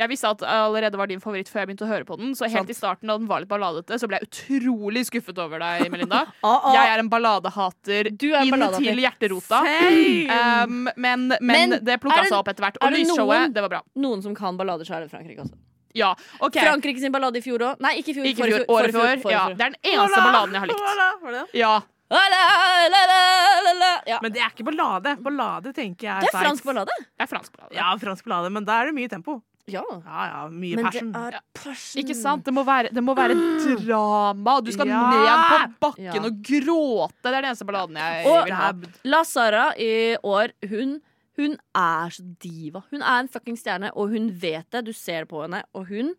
[SPEAKER 3] Jeg visste at allerede var din favoritt før jeg begynte å høre på den, så helt i starten da den var litt balladete, så ble jeg utrolig skuffet over deg, Melinda.
[SPEAKER 1] Ah, ah.
[SPEAKER 3] Jeg er en balladehater
[SPEAKER 1] Du er en
[SPEAKER 3] inn
[SPEAKER 1] balladehater.
[SPEAKER 3] til hjerterota. Um, men, men,
[SPEAKER 1] Men
[SPEAKER 3] det
[SPEAKER 1] er
[SPEAKER 3] plukka
[SPEAKER 1] det-
[SPEAKER 3] seg opp etter hvert.
[SPEAKER 1] er
[SPEAKER 3] Og
[SPEAKER 1] det
[SPEAKER 3] lysshowet,
[SPEAKER 1] noen-
[SPEAKER 3] det var bra.
[SPEAKER 1] Noen som kan ballader, så er det Frankrike også.
[SPEAKER 3] Ja, ok.
[SPEAKER 1] Frankrike sin ballade i fjor òg. Nei, ikke i fjor.
[SPEAKER 3] Ikke
[SPEAKER 1] forrige
[SPEAKER 3] fjor, året
[SPEAKER 1] forrige
[SPEAKER 3] før. Ja,
[SPEAKER 1] forrige
[SPEAKER 3] det er den eneste balladen jeg har likt.
[SPEAKER 2] Voilà, var det det?
[SPEAKER 3] Ja,
[SPEAKER 1] La, la, la, la, la. Ja.
[SPEAKER 2] Men det er ikke ballade. Ballade tenker jeg
[SPEAKER 1] Det er
[SPEAKER 2] seigt.
[SPEAKER 1] fransk ballade.
[SPEAKER 3] det er fransk ballade.
[SPEAKER 2] Ja, fransk ballade, men da er det mye tempo.
[SPEAKER 1] Ja.
[SPEAKER 2] Ja, ja, mye
[SPEAKER 1] Men det
[SPEAKER 2] passion.
[SPEAKER 1] er passion.
[SPEAKER 3] Ikke sant? Det må være, det må være drama. Du skal
[SPEAKER 2] Ja.
[SPEAKER 3] ned på bakken
[SPEAKER 1] Ja.
[SPEAKER 3] og gråte. Det er den eneste balladen jeg
[SPEAKER 1] Og-
[SPEAKER 3] vil ha.
[SPEAKER 1] La Sara i år, hun, hun er så diva. Hun er en fucking stjerne, og hun vet det. Du ser det på henne, og hun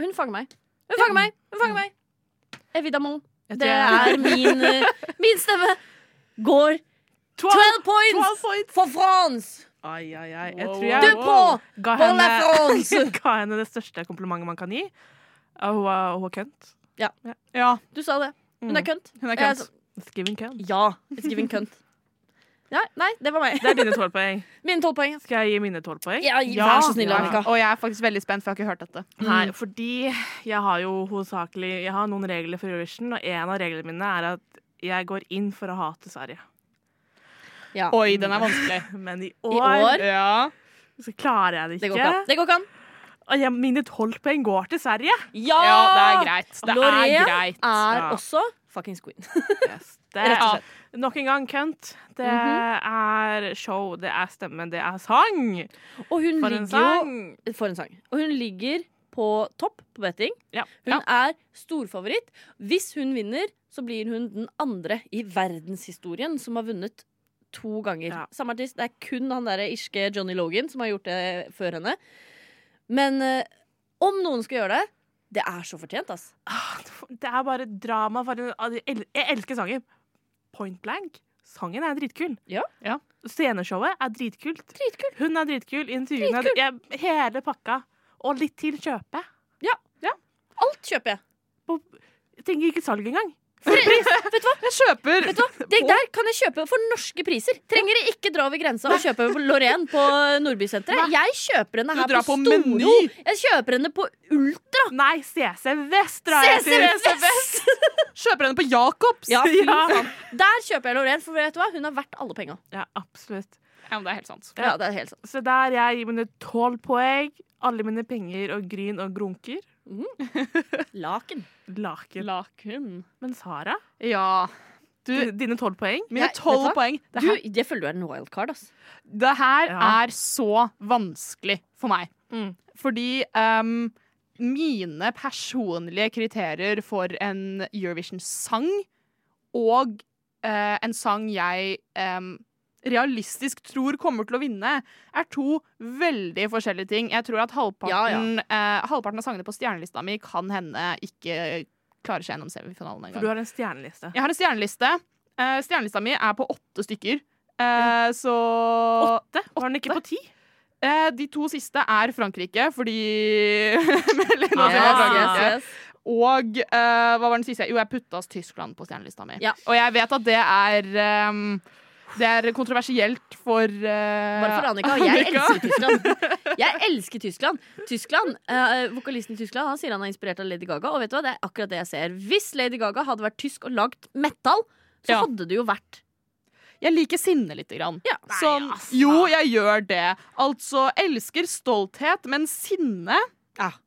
[SPEAKER 1] Hun fanger meg. Hun fanger meg! Hun fanger meg! Evidamon.
[SPEAKER 2] Jeg
[SPEAKER 1] Det
[SPEAKER 2] tror
[SPEAKER 1] er min, eh, min stemme. Går
[SPEAKER 2] Twelve
[SPEAKER 1] 12 points
[SPEAKER 2] points!
[SPEAKER 1] for France!
[SPEAKER 2] Ai, ai, ai. Jeg
[SPEAKER 3] Wow,
[SPEAKER 2] tror
[SPEAKER 1] Du
[SPEAKER 2] jeg
[SPEAKER 1] på!
[SPEAKER 2] ga
[SPEAKER 1] Bon la
[SPEAKER 2] henne,
[SPEAKER 1] France!
[SPEAKER 2] ga henne det største komplimentet man kan gi. Ja, Hun er, hun er kønt.
[SPEAKER 3] Ja,
[SPEAKER 1] Du sa det. Hun er kønt.
[SPEAKER 3] Mm. hun er
[SPEAKER 1] Jeg er
[SPEAKER 3] kønt.
[SPEAKER 2] Skiven kønt.
[SPEAKER 1] Ja. It's giving kønt. Nei, nei, det var meg.
[SPEAKER 2] Det er dine tolv poeng.
[SPEAKER 1] Mine tolv poeng.
[SPEAKER 2] Skal jeg gi mine tolv poeng?
[SPEAKER 1] Ja, vær så snill,
[SPEAKER 2] Ja.
[SPEAKER 1] Annika.
[SPEAKER 3] Og jeg er faktisk veldig spent, for jeg har ikke hørt dette.
[SPEAKER 2] Nei,
[SPEAKER 1] Mm.
[SPEAKER 2] fordi jeg har jo hovedsakelig Jeg har noen regler for Eurovision, og en av reglene mine er at jeg går inn for å hate Sverige.
[SPEAKER 1] Ja.
[SPEAKER 3] Oi, den er vanskelig.
[SPEAKER 2] Men i
[SPEAKER 1] I
[SPEAKER 2] år,
[SPEAKER 1] år
[SPEAKER 3] Ja.
[SPEAKER 2] så klarer jeg det
[SPEAKER 1] Det
[SPEAKER 2] ikke.
[SPEAKER 1] går ikke an. Det går ikke an.
[SPEAKER 2] Og jeg, mine tolv poeng går til Sverige.
[SPEAKER 1] Ja!
[SPEAKER 3] ja, det er greit. Det er
[SPEAKER 1] Loreen
[SPEAKER 3] greit.
[SPEAKER 1] er
[SPEAKER 2] Ja.
[SPEAKER 1] også fuckings queen.
[SPEAKER 2] Det
[SPEAKER 1] Rett og Mhm.
[SPEAKER 2] er nok en gang kønt. Det er show, det er stemme, det er sang.
[SPEAKER 1] Og hun
[SPEAKER 2] For en
[SPEAKER 1] ligger
[SPEAKER 2] sang.
[SPEAKER 1] jo For en sang. Og hun ligger på topp på betting.
[SPEAKER 2] Ja.
[SPEAKER 1] Hun er storfavoritt. Hvis hun vinner, så blir hun den andre i verdenshistorien som har vunnet to ganger.
[SPEAKER 2] Ja.
[SPEAKER 1] Samme artist. Det er kun han derre irske Johnny Logan som har gjort det før henne. Men eh, om noen skal gjøre det Det er så fortjent, ass.
[SPEAKER 2] Det er bare drama. For en, jeg elsker sangen. Point blank. Sangen er dritkul.
[SPEAKER 1] Ja.
[SPEAKER 2] Sceneshowet er dritkult.
[SPEAKER 1] Dritkul.
[SPEAKER 2] Hun er dritkul. Intervjuene er jeg, Hele pakka. Og litt til kjøper jeg.
[SPEAKER 1] Alt kjøper jeg.
[SPEAKER 2] Jeg Trenger ikke salg engang.
[SPEAKER 3] Jeg kjøper.
[SPEAKER 1] Vet du hva? Det der kan jeg kjøpe for norske priser. Trenger jeg ikke dra over grensa og kjøpe på Lorraine på Nordbysenteret. Jeg kjøper henne
[SPEAKER 3] Du
[SPEAKER 1] her
[SPEAKER 3] drar
[SPEAKER 1] på
[SPEAKER 3] på
[SPEAKER 1] Storo.
[SPEAKER 3] Meny.
[SPEAKER 1] Jeg kjøper henne på Ultra.
[SPEAKER 2] Nei, CC Vest drar jeg
[SPEAKER 1] E
[SPEAKER 2] til.
[SPEAKER 1] Vest!
[SPEAKER 3] Kjøper henne på Jacobs.
[SPEAKER 1] Ja, fy
[SPEAKER 2] Ja.
[SPEAKER 1] faen. Der kjøper jeg Lorraine, for vet du hva? hun er verdt alle penga.
[SPEAKER 2] Ja, absolutt.
[SPEAKER 3] Ja, men det er helt sant.
[SPEAKER 1] Ja, det er helt sant.
[SPEAKER 2] Så der jeg gir mine tolv poeng. Alle mine penger og gryn og grunker.
[SPEAKER 1] Laken.
[SPEAKER 2] Laken.
[SPEAKER 3] Laken.
[SPEAKER 2] Men Sara,
[SPEAKER 3] Ja.
[SPEAKER 2] du, dine tolv poeng
[SPEAKER 3] Mine
[SPEAKER 1] Jeg-
[SPEAKER 3] tolv
[SPEAKER 1] vet du hva?
[SPEAKER 3] poeng. Det
[SPEAKER 1] Du,
[SPEAKER 3] her,
[SPEAKER 1] jeg føler du er en wildcard, ass.
[SPEAKER 3] det her
[SPEAKER 2] Ja.
[SPEAKER 3] er så vanskelig for meg.
[SPEAKER 2] Mm.
[SPEAKER 3] Fordi ehm, mine personlige kriterier for en Eurovision-sang og eh, en sang jeg ehm, realistisk tror kommer til å vinne, er to veldig forskjellige ting. Jeg tror at
[SPEAKER 1] Ja,
[SPEAKER 3] halvparten,
[SPEAKER 1] ja.
[SPEAKER 3] eh, halvparten av sangene på stjernelista mi kan hende ikke klarer seg gjennom semifinalen
[SPEAKER 2] For du
[SPEAKER 3] engang.
[SPEAKER 2] har en stjerneliste.
[SPEAKER 3] Jeg har en stjerneliste. Eh, stjernelista mi er på åtte stykker. Eh, Så
[SPEAKER 2] Åtte? Var den ikke på ti?
[SPEAKER 3] Eh, de to siste er Frankrike, fordi Melina sin
[SPEAKER 2] Ah.
[SPEAKER 3] var Frankrike. Og eh, hva var den siste? Jo, jeg putta Tyskland på stjernelista mi.
[SPEAKER 1] Ja.
[SPEAKER 3] Og jeg vet at det er ehm, Det er kontroversielt for eh,
[SPEAKER 1] Bare for Annika. og Jeg elsker Tyskland. Jeg elsker Tyskland. Tyskland eh, vokalisten i Tyskland han sier han er inspirert av Lady Gaga. Og vet du hva, det er akkurat det jeg ser. Hvis Lady Gaga hadde vært tysk og lagd metal, så
[SPEAKER 3] Ja.
[SPEAKER 1] hadde det jo vært
[SPEAKER 3] Jeg liker sinne lite grann.
[SPEAKER 1] Ja.
[SPEAKER 3] Sånn, jo, jeg gjør det. Altså, elsker stolthet, men sinne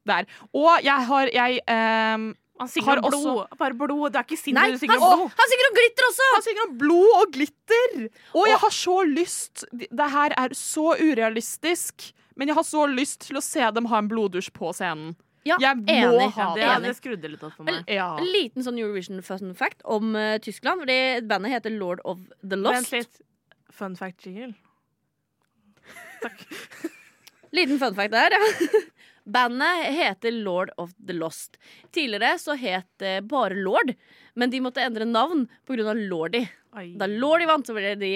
[SPEAKER 3] Der. Og jeg har Jeg ehm,
[SPEAKER 2] Han synger
[SPEAKER 3] Har
[SPEAKER 2] om blod.
[SPEAKER 3] også-
[SPEAKER 2] Bare blod. Det er ikke sinne
[SPEAKER 1] Nei,
[SPEAKER 2] du
[SPEAKER 1] han,
[SPEAKER 2] synger om
[SPEAKER 1] å,
[SPEAKER 2] blod.
[SPEAKER 1] han synger om glitter også!
[SPEAKER 3] Han synger om blod og glitter! Og jeg har så lyst Det her er så urealistisk, men jeg har så lyst til å se dem ha en bloddusj på scenen.
[SPEAKER 1] Ja,
[SPEAKER 3] Jeg må
[SPEAKER 1] enig.
[SPEAKER 3] ha
[SPEAKER 2] Det,
[SPEAKER 1] Ja,
[SPEAKER 2] det
[SPEAKER 1] enig.
[SPEAKER 2] skrudde litt opp for
[SPEAKER 1] Vel,
[SPEAKER 2] meg.
[SPEAKER 3] Ja.
[SPEAKER 1] En liten sånn Eurovision fun fact om eh, Tyskland. Fordi bandet heter Lord of the Lost.
[SPEAKER 2] Vent litt. Fun fact jingle.
[SPEAKER 1] Liten fun fact der, ja. Bandet heter Lord of the Lost. Tidligere så het det bare Lord, men de måtte endre navn pga. Lordy.
[SPEAKER 2] Oi.
[SPEAKER 1] Da Lordy vant, så ble de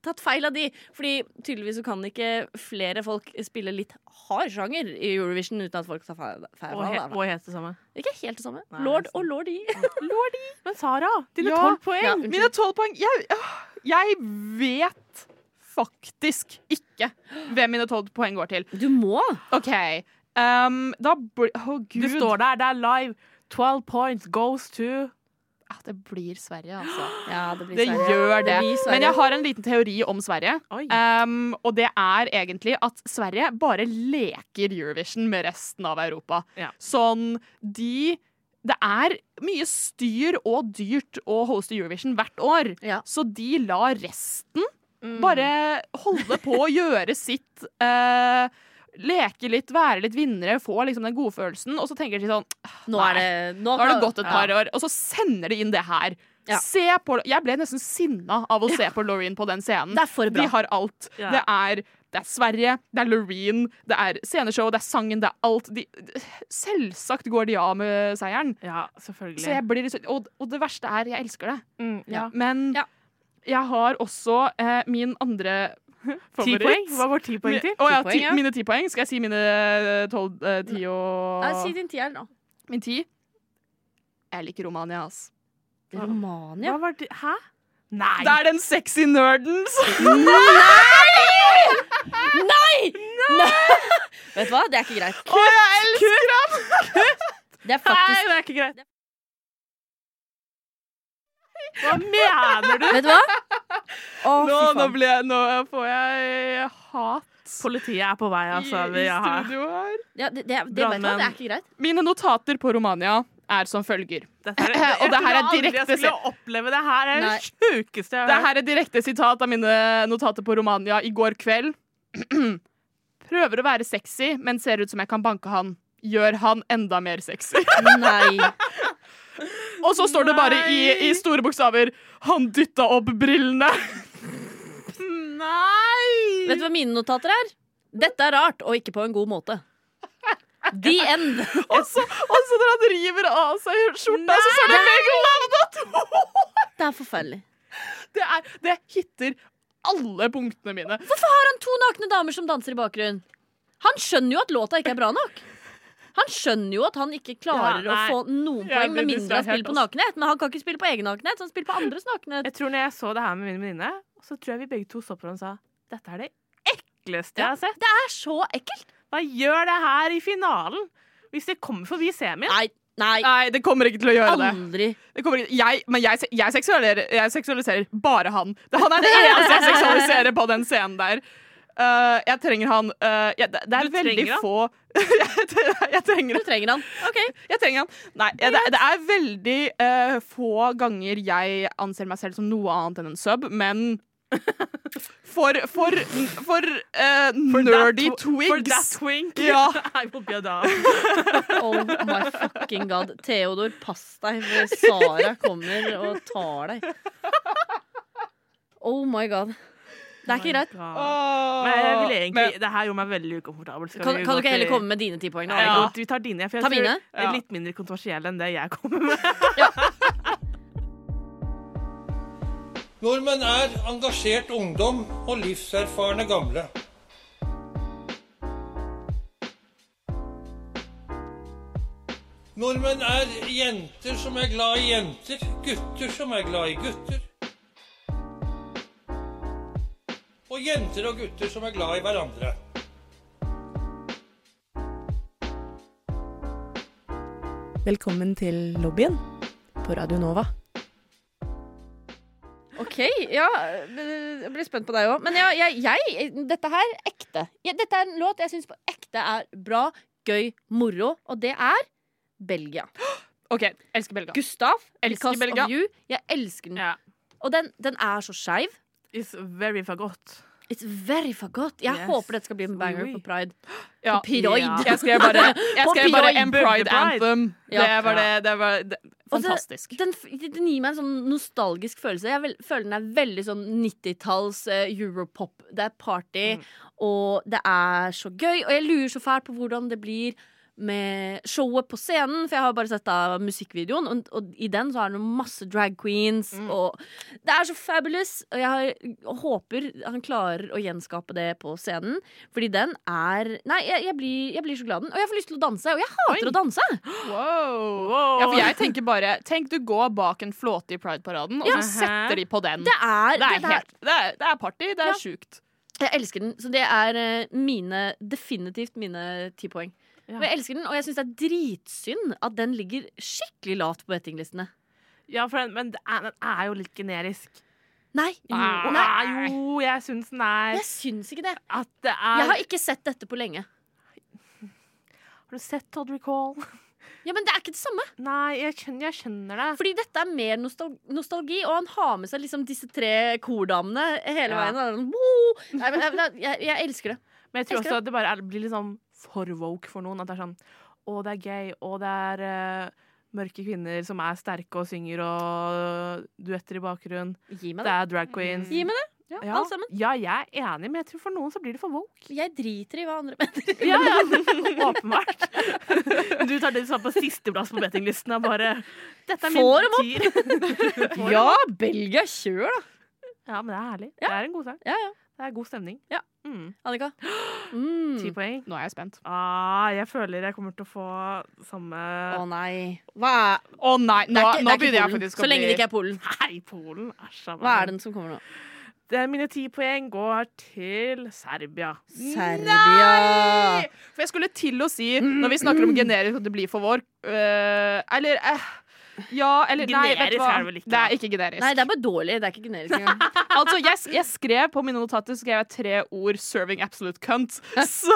[SPEAKER 1] tatt feil av de. Fordi tydeligvis så kan ikke flere folk spille litt hard sjanger i Eurovision uten at folk tar feil. feil
[SPEAKER 2] Og, he
[SPEAKER 1] av det.
[SPEAKER 2] og het det samme.
[SPEAKER 1] Ikke helt det samme.
[SPEAKER 2] Nei,
[SPEAKER 1] Lord
[SPEAKER 2] det er
[SPEAKER 1] og Lordy.
[SPEAKER 2] Men Sara, dine
[SPEAKER 3] Ja.
[SPEAKER 2] tolv poeng!
[SPEAKER 1] Ja, unnskyld.
[SPEAKER 3] Mine tolv poeng jeg, åh, jeg vet faktisk ikke hvem mine tolv poeng går til.
[SPEAKER 1] Du må!
[SPEAKER 3] OK. Um, da blir Å, gud.
[SPEAKER 2] Du står der, det er live. 12 points goes to
[SPEAKER 3] Ah, det blir Sverige, altså.
[SPEAKER 1] Ja, det blir
[SPEAKER 3] Det
[SPEAKER 1] Sverige.
[SPEAKER 3] gjør det.
[SPEAKER 1] blir Sverige.
[SPEAKER 3] Men jeg har en liten teori om Sverige.
[SPEAKER 2] Oi.
[SPEAKER 3] Um, og det er egentlig at Sverige bare leker Eurovision med resten av Europa.
[SPEAKER 2] Ja.
[SPEAKER 3] Sånn, de Det er mye styr og dyrt å hoste Eurovision hvert år,
[SPEAKER 1] Ja.
[SPEAKER 3] så de lar resten bare holde på å gjøre sitt. eh, leke litt, være litt vinnere, få liksom den godfølelsen. Og så tenker de sånn
[SPEAKER 1] Nå er det
[SPEAKER 3] nå har det gått et par år, og så sender de inn det her.
[SPEAKER 1] Ja.
[SPEAKER 3] Se på, jeg ble nesten sinna av å se på Loreen på den scenen.
[SPEAKER 1] Det er for bra.
[SPEAKER 3] De har alt.
[SPEAKER 2] Ja.
[SPEAKER 3] Det, er, det er Sverige, det er Loreen, det er sceneshow, det er sangen, det er alt. De, selvsagt går de av med seieren.
[SPEAKER 2] Ja,
[SPEAKER 3] Så jeg
[SPEAKER 2] selvfølgelig.
[SPEAKER 3] blir, litt- sånn, og, og det verste er, jeg elsker det.
[SPEAKER 2] Mm, ja.
[SPEAKER 3] Men
[SPEAKER 1] Ja.
[SPEAKER 3] jeg har også eh, min andre
[SPEAKER 2] Ti
[SPEAKER 3] favoritt.
[SPEAKER 2] poeng? Hva går ti poeng til?
[SPEAKER 3] Å ja,
[SPEAKER 1] Ti poeng,
[SPEAKER 3] ti,
[SPEAKER 1] ja.
[SPEAKER 3] mine ti poeng. Skal jeg si mine eh, tolv, eh, ti og
[SPEAKER 1] Nei, Si din tier nå.
[SPEAKER 3] Min ti? Jeg liker Romania, ass.
[SPEAKER 2] Hva
[SPEAKER 1] Romania?
[SPEAKER 2] var det? Hæ? Nei!
[SPEAKER 3] Det er den sexy nerden som
[SPEAKER 1] Vet du hva, det er ikke greit.
[SPEAKER 3] Å, jeg elsker ham!
[SPEAKER 1] Det er
[SPEAKER 2] Nei,
[SPEAKER 1] faktisk
[SPEAKER 2] det er ikke greit. Hva mener du?
[SPEAKER 1] Vet du hva? Å,
[SPEAKER 3] Nå,
[SPEAKER 1] fy
[SPEAKER 3] nå,
[SPEAKER 1] faen.
[SPEAKER 3] ble, jeg- nå får jeg hat
[SPEAKER 2] Politiet er på vei,
[SPEAKER 3] i,
[SPEAKER 2] altså.
[SPEAKER 3] i
[SPEAKER 2] Vi har.
[SPEAKER 3] studio her.
[SPEAKER 1] Ja, det, det, det, vet du hva, det er ikke greit.
[SPEAKER 3] Mine notater på Romania er som følger.
[SPEAKER 2] Dette er,
[SPEAKER 3] Og det her er
[SPEAKER 2] jeg trodde aldri
[SPEAKER 3] direkte
[SPEAKER 2] Jeg skulle oppleve det her. Det er
[SPEAKER 1] Nei.
[SPEAKER 2] det sjukeste jeg
[SPEAKER 3] Det
[SPEAKER 2] har hørt.
[SPEAKER 3] her er direkte sitat av mine notater på Romania i går kveld. Prøver å være sexy, men ser ut som jeg kan banke han. Gjør han enda mer sexy.
[SPEAKER 1] Nei.
[SPEAKER 3] Og så står det bare i, i store bokstaver Han dytta opp brillene.
[SPEAKER 2] Nei!
[SPEAKER 1] Vet du hva mine notater er? Dette er rart, og ikke på en god måte. The end.
[SPEAKER 3] Og så, og så når han river av seg skjorta, så står det Megan Lavnat!
[SPEAKER 1] Det er forferdelig.
[SPEAKER 3] Det, er, det hitter alle punktene mine.
[SPEAKER 1] Har han to nakne damer som danser i bakgrunnen? Han skjønner jo at låta ikke er bra nok. Han skjønner jo at han ikke
[SPEAKER 2] Ja,
[SPEAKER 1] klarer
[SPEAKER 2] nei.
[SPEAKER 1] å få noen
[SPEAKER 3] Jeg
[SPEAKER 1] poeng med
[SPEAKER 3] blir
[SPEAKER 1] mindre han spiller på
[SPEAKER 3] distrahert,
[SPEAKER 1] nakenhet. Men han kan ikke spille på egen nakenhet, så han spiller på andres nakenhet.
[SPEAKER 2] Jeg tror når jeg så det her med min venninne, så tror jeg vi begge to så på den og sa dette er det ekleste jeg har sett.
[SPEAKER 1] Det er så ekkelt.
[SPEAKER 2] Hva gjør det her i finalen? Hvis det kommer forbi semien
[SPEAKER 1] Nei, nei,
[SPEAKER 3] Nei, det kommer ikke til å gjøre det.
[SPEAKER 1] aldri.
[SPEAKER 3] det kommer ikke, jeg, men jeg, se- jeg, seksualiserer, jeg seksualiserer bare han. Det, han er den eneste jeg seksualiserer på den scenen der. Eh, jeg trenger han eh, jeg, det, det er
[SPEAKER 2] Du
[SPEAKER 3] veldig
[SPEAKER 2] trenger han?
[SPEAKER 3] få jeg, tre- jeg trenger
[SPEAKER 1] Du trenger han. OK.
[SPEAKER 3] Jeg trenger han. Nei, jeg- det, det er veldig eh, få ganger jeg anser meg selv som noe annet enn en sub, men For, for, for eh, nerdy
[SPEAKER 2] that tw-
[SPEAKER 3] twigs.
[SPEAKER 2] For that twink.
[SPEAKER 3] Ja.
[SPEAKER 2] I will be a dog.
[SPEAKER 1] Oh my fucking god. Theodor, pass deg, for Sara kommer og tar deg. Oh my god. Det er ikke greit.
[SPEAKER 3] Åh,
[SPEAKER 2] Men jeg vil egentlig,
[SPEAKER 3] men-
[SPEAKER 2] det her gjorde meg veldig ukomfortabel. Skal
[SPEAKER 1] Kan,
[SPEAKER 2] vi
[SPEAKER 1] kan
[SPEAKER 2] gå
[SPEAKER 1] du ikke heller
[SPEAKER 2] til-
[SPEAKER 1] komme med dine ti poeng?
[SPEAKER 2] Nei,
[SPEAKER 1] Ja.
[SPEAKER 2] godt, Vi tar dine. For jeg
[SPEAKER 1] Ta
[SPEAKER 2] tror
[SPEAKER 1] mine?
[SPEAKER 2] det
[SPEAKER 3] Ja.
[SPEAKER 2] er litt mindre kontroversielle enn det jeg kommer med.
[SPEAKER 8] Nordmenn er engasjert ungdom og livserfarne gamle. Nordmenn er jenter som er glad i jenter, gutter som er glad i gutter. Og jenter og gutter som er glad i hverandre.
[SPEAKER 9] Velkommen til lobbyen på Radio Nova.
[SPEAKER 1] OK. Ja, jeg blir spent på deg òg. Men ja, jeg, jeg Dette her ekte. Ja, Dette er en låt jeg syns på ekte er bra, gøy, moro, og det er Belgia.
[SPEAKER 3] OK, elsker Belga.
[SPEAKER 1] Gustav,
[SPEAKER 3] Elsker
[SPEAKER 1] Because
[SPEAKER 3] Belgia.
[SPEAKER 1] of You. Jeg elsker den.
[SPEAKER 2] Ja.
[SPEAKER 1] Og den, den er så skeiv.
[SPEAKER 2] It's very forgot.
[SPEAKER 1] It's very forgot. Jeg
[SPEAKER 2] Yes.
[SPEAKER 1] håper dette skal bli en banger
[SPEAKER 2] Oui.
[SPEAKER 1] på Pride.
[SPEAKER 3] Ja.
[SPEAKER 1] Pyroid.
[SPEAKER 2] Ja.
[SPEAKER 3] Jeg skrev bare, jeg
[SPEAKER 1] På
[SPEAKER 3] skrev bare
[SPEAKER 1] Pride,
[SPEAKER 3] en
[SPEAKER 2] Burde
[SPEAKER 3] pride
[SPEAKER 2] Pride.
[SPEAKER 3] anthem.
[SPEAKER 1] Ja.
[SPEAKER 3] Det var det, det var det.
[SPEAKER 1] Og så-
[SPEAKER 3] Fantastisk.
[SPEAKER 1] Den, f- den gir meg en sånn nostalgisk følelse. Jeg vel, føler den er veldig sånn 90-talls eh, europop. Det er party,
[SPEAKER 3] Mm.
[SPEAKER 1] og det er så gøy. Og jeg lurer så fælt på hvordan det blir med showet på scenen, for jeg har bare sett av musikkvideoen, og, og i den så er det masse drag queens,
[SPEAKER 3] Mm.
[SPEAKER 1] og det er så fabulous! Og jeg har, håper han klarer å gjenskape det på scenen, fordi den er Nei, jeg, jeg, blir, jeg blir så glad av den. Og jeg får lyst til å danse, og jeg hater å danse!
[SPEAKER 3] Wow.
[SPEAKER 2] Wow.
[SPEAKER 3] Ja, for jeg tenker bare Tenk du går bak en flåte i Pride-paraden, og
[SPEAKER 2] Ja.
[SPEAKER 3] så setter de på den.
[SPEAKER 1] Det er,
[SPEAKER 3] Det er,
[SPEAKER 1] dette her-
[SPEAKER 3] helt, det er, det er party. Det er
[SPEAKER 1] Ja.
[SPEAKER 3] sjukt.
[SPEAKER 1] Jeg elsker den, så det er eh, mine, definitivt mine ti poeng.
[SPEAKER 2] Ja.
[SPEAKER 1] Men jeg elsker den, og jeg syns det er dritsynd at den ligger skikkelig lavt på bettinglistene.
[SPEAKER 2] Ja, for den, men det er- den er jo litt generisk.
[SPEAKER 1] Nei!
[SPEAKER 2] Jo,
[SPEAKER 1] nei.
[SPEAKER 2] nei, jo jeg syns den er
[SPEAKER 1] Jeg syns ikke det. Ah.
[SPEAKER 2] At det er
[SPEAKER 1] Jeg
[SPEAKER 2] har,
[SPEAKER 1] har ikke sett dette på lenge.
[SPEAKER 2] du sett Todd Recall?
[SPEAKER 1] Ja, Men det er ikke det samme.
[SPEAKER 2] Nei, jeg skjønner, jeg skjønner det.
[SPEAKER 1] Fordi dette er mer nostal nostalgi, og han har med seg liksom disse tre kordamene hele
[SPEAKER 2] Ja.
[SPEAKER 1] veien. Og det er sånn, wow! Nei, men jeg, jeg, jeg elsker det.
[SPEAKER 2] Men jeg tror
[SPEAKER 1] Elsker
[SPEAKER 2] også at det bare er, blir liksom for woke for noen. At det er sånn Å, det er gay, og det er eh, mørke kvinner som er sterke og synger og duetter i bakgrunnen.
[SPEAKER 1] Gi meg
[SPEAKER 2] Det
[SPEAKER 1] det.
[SPEAKER 2] er drag queens.
[SPEAKER 1] Gi meg det. Ja,
[SPEAKER 2] Ja.
[SPEAKER 1] Alt sammen.
[SPEAKER 2] ja, jeg er enig, men jeg tror for noen så blir det for woke.
[SPEAKER 1] Jeg driter i hva andre mener.
[SPEAKER 2] Ja, ja, Åpenbart. Du tar det du sa på sisteplass på bettinglisten og bare Dette er
[SPEAKER 1] Får
[SPEAKER 2] min tier.
[SPEAKER 1] Ja, Belgia, kjør, da!
[SPEAKER 2] Ja, men det er herlig. Det er en god sang.
[SPEAKER 1] Ja, ja.
[SPEAKER 2] Det er god stemning.
[SPEAKER 1] Ja.
[SPEAKER 2] Mm.
[SPEAKER 1] Annika. Mm.
[SPEAKER 2] Ti poeng.
[SPEAKER 3] Nå er jeg spent.
[SPEAKER 2] Ah, jeg føler jeg kommer til å få samme
[SPEAKER 1] Å nei.
[SPEAKER 3] Å nei, nå,
[SPEAKER 1] Det er ikke,
[SPEAKER 3] nå
[SPEAKER 1] det er ikke
[SPEAKER 3] begynner jeg
[SPEAKER 1] Polen.
[SPEAKER 3] faktisk å
[SPEAKER 1] Så lenge det ikke er Polen.
[SPEAKER 2] Nei, Polen. Æsj.
[SPEAKER 1] Hva er den som kommer nå?
[SPEAKER 2] Det- eh, Mine ti poeng går til Serbia.
[SPEAKER 1] Serbia.
[SPEAKER 3] Nei! For jeg skulle til å si,
[SPEAKER 1] Mm.
[SPEAKER 3] når vi snakker om generisk og det blir for vår øh, Eller eh, Ja, eller nei, vet du
[SPEAKER 2] Generisk
[SPEAKER 3] hva?
[SPEAKER 2] er det vel ikke,
[SPEAKER 3] Det
[SPEAKER 2] da.
[SPEAKER 3] er ikke generisk.
[SPEAKER 1] Nei, det er bare dårlig. Det er ikke generisk engang.
[SPEAKER 3] altså, jeg, jeg skrev på mine notater skrev jeg tre ord 'serving absolute cunt'. Så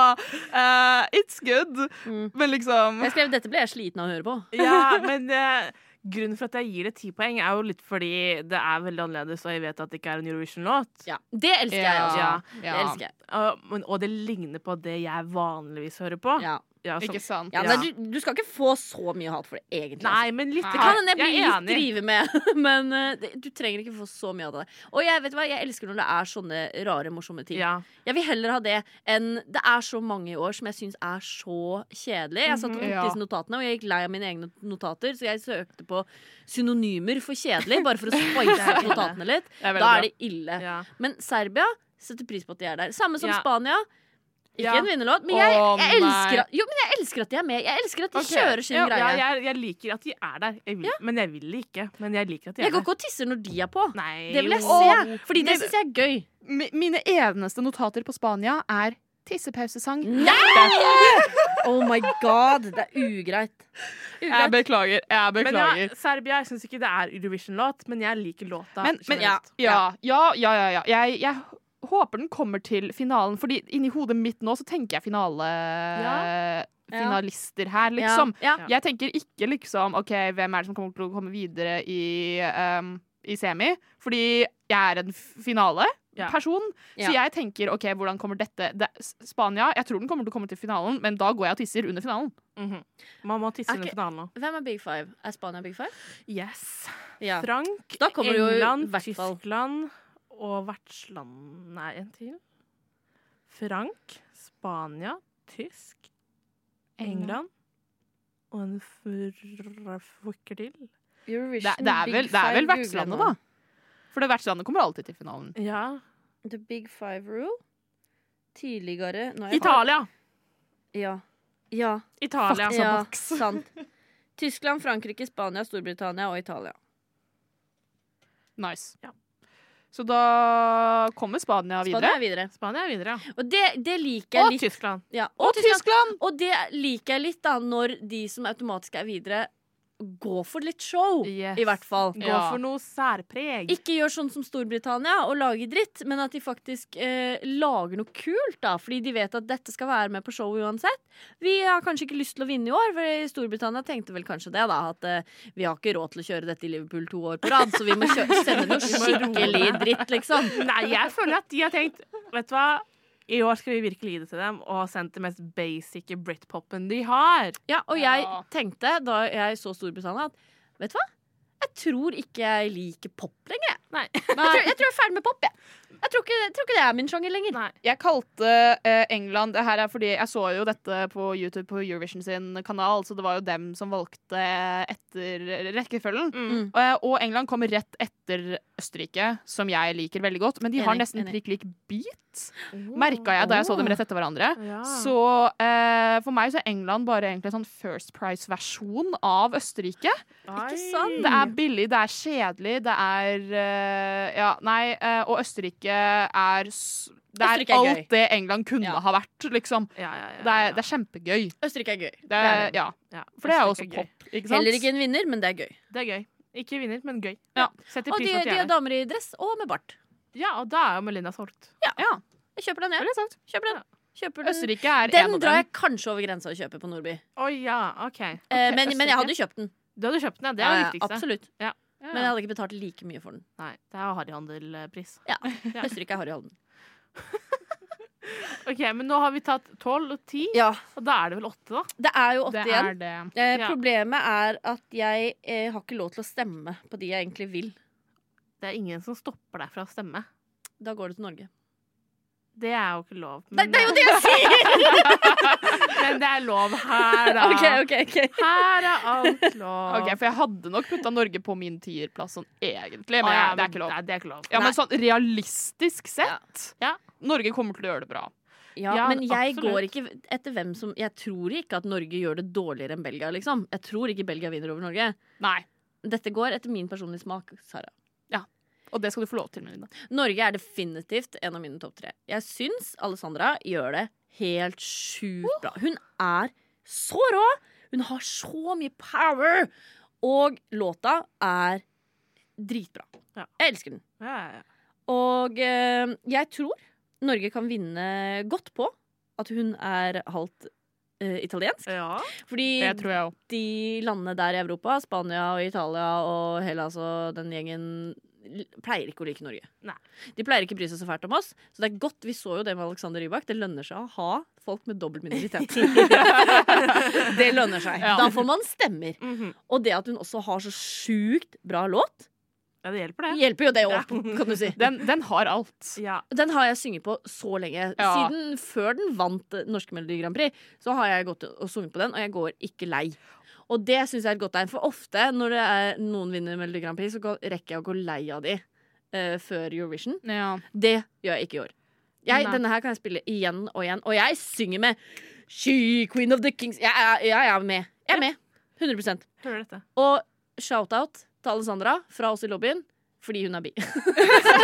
[SPEAKER 3] eh, it's good.
[SPEAKER 1] Mm.
[SPEAKER 3] Men liksom
[SPEAKER 1] Jeg skrev dette ble jeg sliten av å høre på.
[SPEAKER 2] Ja, men eh, grunnen for at jeg gir det ti poeng, er jo litt fordi det er veldig annerledes, og jeg vet at det ikke er en Eurovision-låt.
[SPEAKER 1] Ja, Det elsker jeg også.
[SPEAKER 2] Ja.
[SPEAKER 1] Det elsker jeg.
[SPEAKER 2] Og, men- og det ligner på det jeg vanligvis hører på.
[SPEAKER 1] Ja.
[SPEAKER 2] Ja, som-
[SPEAKER 3] Ikke sant?
[SPEAKER 1] altså. Ja,
[SPEAKER 2] Ja.
[SPEAKER 1] Nei, du, du skal ikke få så mye hat for det, egentlig. altså.
[SPEAKER 2] Nei, men litt.
[SPEAKER 1] Det kan hende jeg
[SPEAKER 2] Jeg
[SPEAKER 1] blir
[SPEAKER 2] er
[SPEAKER 1] litt
[SPEAKER 2] enig.
[SPEAKER 1] drive med, men eh, det- du trenger ikke få så mye av det. Og jeg vet du hva, jeg elsker når det er sånne rare, morsomme ting.
[SPEAKER 2] Ja.
[SPEAKER 1] Jeg vil heller ha det enn Det er så mange i år som jeg syns er så kjedelig. Jeg satt og tok
[SPEAKER 3] Ja.
[SPEAKER 1] disse notatene, og jeg gikk lei av mine egne notater, så jeg søkte på synonymer for kjedelig, bare for å spoile opp notatene litt.
[SPEAKER 3] Det er
[SPEAKER 1] Da
[SPEAKER 3] veldig bra.
[SPEAKER 1] er det ille.
[SPEAKER 2] ja.
[SPEAKER 1] Men Serbia setter pris på at de er der. Samme som
[SPEAKER 2] Ja.
[SPEAKER 1] Spania. Ikke
[SPEAKER 3] Ja.
[SPEAKER 1] en vinnerlåt, men jeg,
[SPEAKER 3] Å,
[SPEAKER 1] jeg, elsker
[SPEAKER 3] nei.
[SPEAKER 1] at, jo, men jeg elsker at de er med. Jeg elsker at de
[SPEAKER 3] Ok.
[SPEAKER 1] kjører sin
[SPEAKER 2] Ja,
[SPEAKER 1] greie.
[SPEAKER 2] ja, jeg, jeg liker at de er der, jeg vil, men jeg vil ikke. Men jeg liker at de er
[SPEAKER 1] Jeg går
[SPEAKER 2] der.
[SPEAKER 1] ikke og tisser når de er på.
[SPEAKER 2] Nei,
[SPEAKER 1] Det vil jeg
[SPEAKER 2] jo.
[SPEAKER 1] se, fordi det
[SPEAKER 3] Men-
[SPEAKER 1] syns jeg er gøy.
[SPEAKER 3] Mi- Mine eneste notater på Spania er tissepausesang.
[SPEAKER 1] Oh my god, det er ugreit.
[SPEAKER 3] Jeg beklager. Jeg
[SPEAKER 2] Men
[SPEAKER 3] beklager.
[SPEAKER 2] ja, Serbia, jeg syns ikke det er Eurovision-låt, men jeg liker låta.
[SPEAKER 3] Men, men ja,
[SPEAKER 2] generelt.
[SPEAKER 3] ja, ja, ja, ja, ja. Jeg, jeg håper den kommer til finalen, Fordi inni hodet mitt nå så tenker jeg finale finalister her, liksom.
[SPEAKER 1] Ja. Ja.
[SPEAKER 3] Jeg tenker ikke liksom OK, hvem er det som kommer til å komme videre i, ehm, i semi? Fordi jeg er en
[SPEAKER 2] Ja.
[SPEAKER 3] finaleperson.
[SPEAKER 1] Ja.
[SPEAKER 3] Så jeg tenker OK, hvordan kommer dette det, Spania, jeg tror den kommer til å komme til finalen, men da går jeg og tisser under finalen.
[SPEAKER 2] Mhm. Man må tisse
[SPEAKER 1] Er
[SPEAKER 2] under
[SPEAKER 1] ikke-
[SPEAKER 2] finalen nå.
[SPEAKER 1] Hvem er Big Five? Er Spania Big Five?
[SPEAKER 2] Yes.
[SPEAKER 1] Ja.
[SPEAKER 2] Frank,
[SPEAKER 1] Da kommer det jo i
[SPEAKER 2] England,
[SPEAKER 1] hvert fall-
[SPEAKER 2] Tyskland og vertsland Nei, en til. Frank, Spania, tysk, England og en fr- fucker til.
[SPEAKER 3] Det, det, er, vel, det er vel vertslandet, da. For det vertslandet kommer alltid til finalen.
[SPEAKER 2] Ja.
[SPEAKER 1] The Big Five Rule. Tidligere nå er jeg-
[SPEAKER 2] Italia!
[SPEAKER 1] Ja. ja.
[SPEAKER 2] Italia.
[SPEAKER 3] Altså
[SPEAKER 1] ja sant. Tyskland, Frankrike, Spania, Storbritannia og Italia.
[SPEAKER 3] Nice. Så da kommer Spania
[SPEAKER 1] Spania
[SPEAKER 3] videre.
[SPEAKER 1] er videre.
[SPEAKER 2] Spania er videre, ja.
[SPEAKER 1] Og det, det liker jeg
[SPEAKER 2] Og
[SPEAKER 1] litt.
[SPEAKER 2] Tyskland.
[SPEAKER 1] Ja.
[SPEAKER 3] Og Tyskland!
[SPEAKER 1] Og det liker jeg litt, da, når de som automatisk er videre, går for litt show.
[SPEAKER 2] Yes.
[SPEAKER 1] I hvert fall.
[SPEAKER 2] Gå
[SPEAKER 3] Ja.
[SPEAKER 2] for noe særpreg.
[SPEAKER 1] Ikke gjør sånn som Storbritannia og lager dritt, men at de faktisk eh, lager noe kult, da. Fordi de vet at dette skal være med på showet uansett. Vi har kanskje ikke lyst til å vinne i år, for Storbritannia tenkte vel kanskje det, da. At eh, vi har ikke råd til å kjøre dette i Liverpool to år på rad, så vi må kjø- sende noe skikkelig dritt, liksom.
[SPEAKER 2] Nei, jeg føler at de har tenkt Vet du hva? I år skal vi virkelig gi det til dem og ha sendt det mest basic britpopen de har.
[SPEAKER 1] Ja, og jeg
[SPEAKER 3] Ja.
[SPEAKER 1] tenkte da jeg så Storbritannia at Vet du hva? Jeg tror ikke jeg liker pop lenger. jeg.
[SPEAKER 2] Nei.
[SPEAKER 1] Jeg tror jeg, tror jeg er ferdig med pop. Jeg, jeg, tror, ikke, jeg tror ikke det er min sjanger lenger.
[SPEAKER 2] Nei.
[SPEAKER 3] Jeg kalte eh, England det her er fordi Jeg så jo dette på YouTube på Eurovision sin kanal, så det var jo dem som valgte etter rekkefølgen.
[SPEAKER 2] Mm.
[SPEAKER 3] Eh, og England kom rett etter Østerrike, som jeg liker veldig godt. Men de har
[SPEAKER 1] Enig,
[SPEAKER 3] nesten
[SPEAKER 1] enig.
[SPEAKER 3] prikk lik beat, merka jeg da jeg så dem rett etter hverandre.
[SPEAKER 2] Ja.
[SPEAKER 3] Så eh, for meg så er England bare egentlig en sånn First Price-versjon av Østerrike.
[SPEAKER 2] Oi.
[SPEAKER 1] sant?
[SPEAKER 3] Det er billig, det er kjedelig, det er eh, Ja, nei, eh, og Østerrike er s- Det er,
[SPEAKER 1] Østerrike er
[SPEAKER 3] alt
[SPEAKER 1] gøy.
[SPEAKER 3] det England kunne
[SPEAKER 1] Ja.
[SPEAKER 3] ha vært, liksom.
[SPEAKER 2] Ja, ja, ja,
[SPEAKER 3] Det er,
[SPEAKER 2] ja.
[SPEAKER 3] det er kjempegøy.
[SPEAKER 1] Østerrike er gøy.
[SPEAKER 3] Det er,
[SPEAKER 2] det.
[SPEAKER 3] ja.
[SPEAKER 2] Ja,
[SPEAKER 3] For det er jo også
[SPEAKER 2] Østerrike gøy.
[SPEAKER 3] pop, ikke sant?
[SPEAKER 1] Heller ikke en vinner, men det er gøy.
[SPEAKER 2] Det er gøy. Ikke vinner, men gøy.
[SPEAKER 3] Ja.
[SPEAKER 2] Setter
[SPEAKER 1] Og
[SPEAKER 2] pris
[SPEAKER 1] de,
[SPEAKER 2] på at
[SPEAKER 1] de
[SPEAKER 2] de
[SPEAKER 1] er
[SPEAKER 2] er der.
[SPEAKER 1] damer i dress og med bart.
[SPEAKER 2] Ja, og da er jo Melinda solgt.
[SPEAKER 1] Jeg kjøper den, jeg.
[SPEAKER 3] Veldig sant.
[SPEAKER 1] Kjøper den. Kjøper den.
[SPEAKER 3] Østerrike er en
[SPEAKER 1] Den
[SPEAKER 3] av
[SPEAKER 1] drar
[SPEAKER 3] dem.
[SPEAKER 1] jeg kanskje over grensa og kjøper på Nordby.
[SPEAKER 2] Å ja, OK.
[SPEAKER 1] eh,
[SPEAKER 2] Ok,
[SPEAKER 1] men, men jeg
[SPEAKER 2] Østerrike.
[SPEAKER 1] hadde jo kjøpt den.
[SPEAKER 2] Du hadde kjøpt den, ja. Det
[SPEAKER 1] Ja,
[SPEAKER 2] er det
[SPEAKER 1] ja,
[SPEAKER 2] viktigste.
[SPEAKER 1] absolutt.
[SPEAKER 2] Ja.
[SPEAKER 1] Men jeg hadde ikke betalt like mye for den.
[SPEAKER 2] Nei, det er harryhandelpris. Ja.
[SPEAKER 1] Østerrike er Harryhalden.
[SPEAKER 2] OK, men nå har vi tatt tolv og ti,
[SPEAKER 1] Ja,
[SPEAKER 2] og da er det vel åtte, da?
[SPEAKER 1] det er jo åtte
[SPEAKER 3] Det
[SPEAKER 1] igjen.
[SPEAKER 3] er det.
[SPEAKER 1] Eh,
[SPEAKER 2] Ja.
[SPEAKER 1] Problemet er at jeg eh, har ikke lov til å stemme på de jeg egentlig vil.
[SPEAKER 2] Det er ingen som stopper deg fra å stemme.
[SPEAKER 1] Da går det til Norge.
[SPEAKER 2] Det er jo ikke lov.
[SPEAKER 1] Nei, det er jo det jeg sier!
[SPEAKER 2] men det er lov her, da.
[SPEAKER 1] OK, OK. ok
[SPEAKER 2] Her er alt lov.
[SPEAKER 3] Ok, For jeg hadde nok putta Norge på min tierplass sånn egentlig, men
[SPEAKER 2] Å, ja,
[SPEAKER 3] jeg, det er ikke lov.
[SPEAKER 2] Nei, det er ikke lov.
[SPEAKER 3] Ja, men sånn realistisk sett
[SPEAKER 2] Ja.
[SPEAKER 3] Norge kommer til å gjøre det bra.
[SPEAKER 1] Ja,
[SPEAKER 2] Ja,
[SPEAKER 1] men jeg
[SPEAKER 2] absolutt.
[SPEAKER 1] går ikke etter hvem som Jeg tror ikke at Norge gjør det dårligere enn Belgia, liksom. Jeg tror ikke Belgia vinner over Norge.
[SPEAKER 3] Nei.
[SPEAKER 1] Dette går etter min personlige smak, Sara.
[SPEAKER 3] Og det skal du få lov til, Melinda.
[SPEAKER 1] Norge er definitivt en av mine topp tre. Jeg syns Alessandra gjør det helt sjukt bra. Hun er så rå! Hun har så mye power! Og låta er dritbra.
[SPEAKER 2] Ja.
[SPEAKER 1] Jeg elsker den.
[SPEAKER 2] Ja, ja, ja.
[SPEAKER 1] Og eh, jeg tror Norge kan vinne godt på at hun er halvt eh, italiensk.
[SPEAKER 2] Ja.
[SPEAKER 1] Fordi
[SPEAKER 3] Det tror jeg òg.
[SPEAKER 1] de landene der i Europa, Spania og Italia og Hellas og den gjengen, l- pleier ikke å like Norge.
[SPEAKER 2] Nei.
[SPEAKER 1] De pleier ikke bry seg så fælt om oss. Så det er godt vi så jo det med Alexander Rybak. Det lønner seg å ha folk med dobbelt minoritet. det lønner seg.
[SPEAKER 3] Ja.
[SPEAKER 1] Da får man stemmer.
[SPEAKER 2] Mhm.
[SPEAKER 1] Og det at hun også har så sjukt bra låt,
[SPEAKER 2] ja, det hjelper, det.
[SPEAKER 1] hjelper jo det
[SPEAKER 2] Ja.
[SPEAKER 1] òg, kan du si.
[SPEAKER 3] Den, den har alt.
[SPEAKER 2] Ja.
[SPEAKER 1] Den har jeg sunget på så lenge.
[SPEAKER 3] Ja.
[SPEAKER 1] Siden før den vant eh, Norske Melodi Grand Prix, så har jeg gått og sunget på den, og jeg går ikke lei. Og det syns jeg er et godt tegn, for ofte når det er noen vinner Melodi Grand Prix, så går- rekker jeg å gå lei av de eh, før Eurovision.
[SPEAKER 3] Ja.
[SPEAKER 1] Det gjør jeg ikke i år. Jeg,
[SPEAKER 3] Nei.
[SPEAKER 1] denne her kan jeg spille igjen og igjen, og jeg synger med She, Queen of the Kings Jeg er, jeg er med. Jeg er med. 100
[SPEAKER 2] Hører dette.
[SPEAKER 1] Og shout-out til Alessandra fra oss i lobbyen, fordi hun er bi.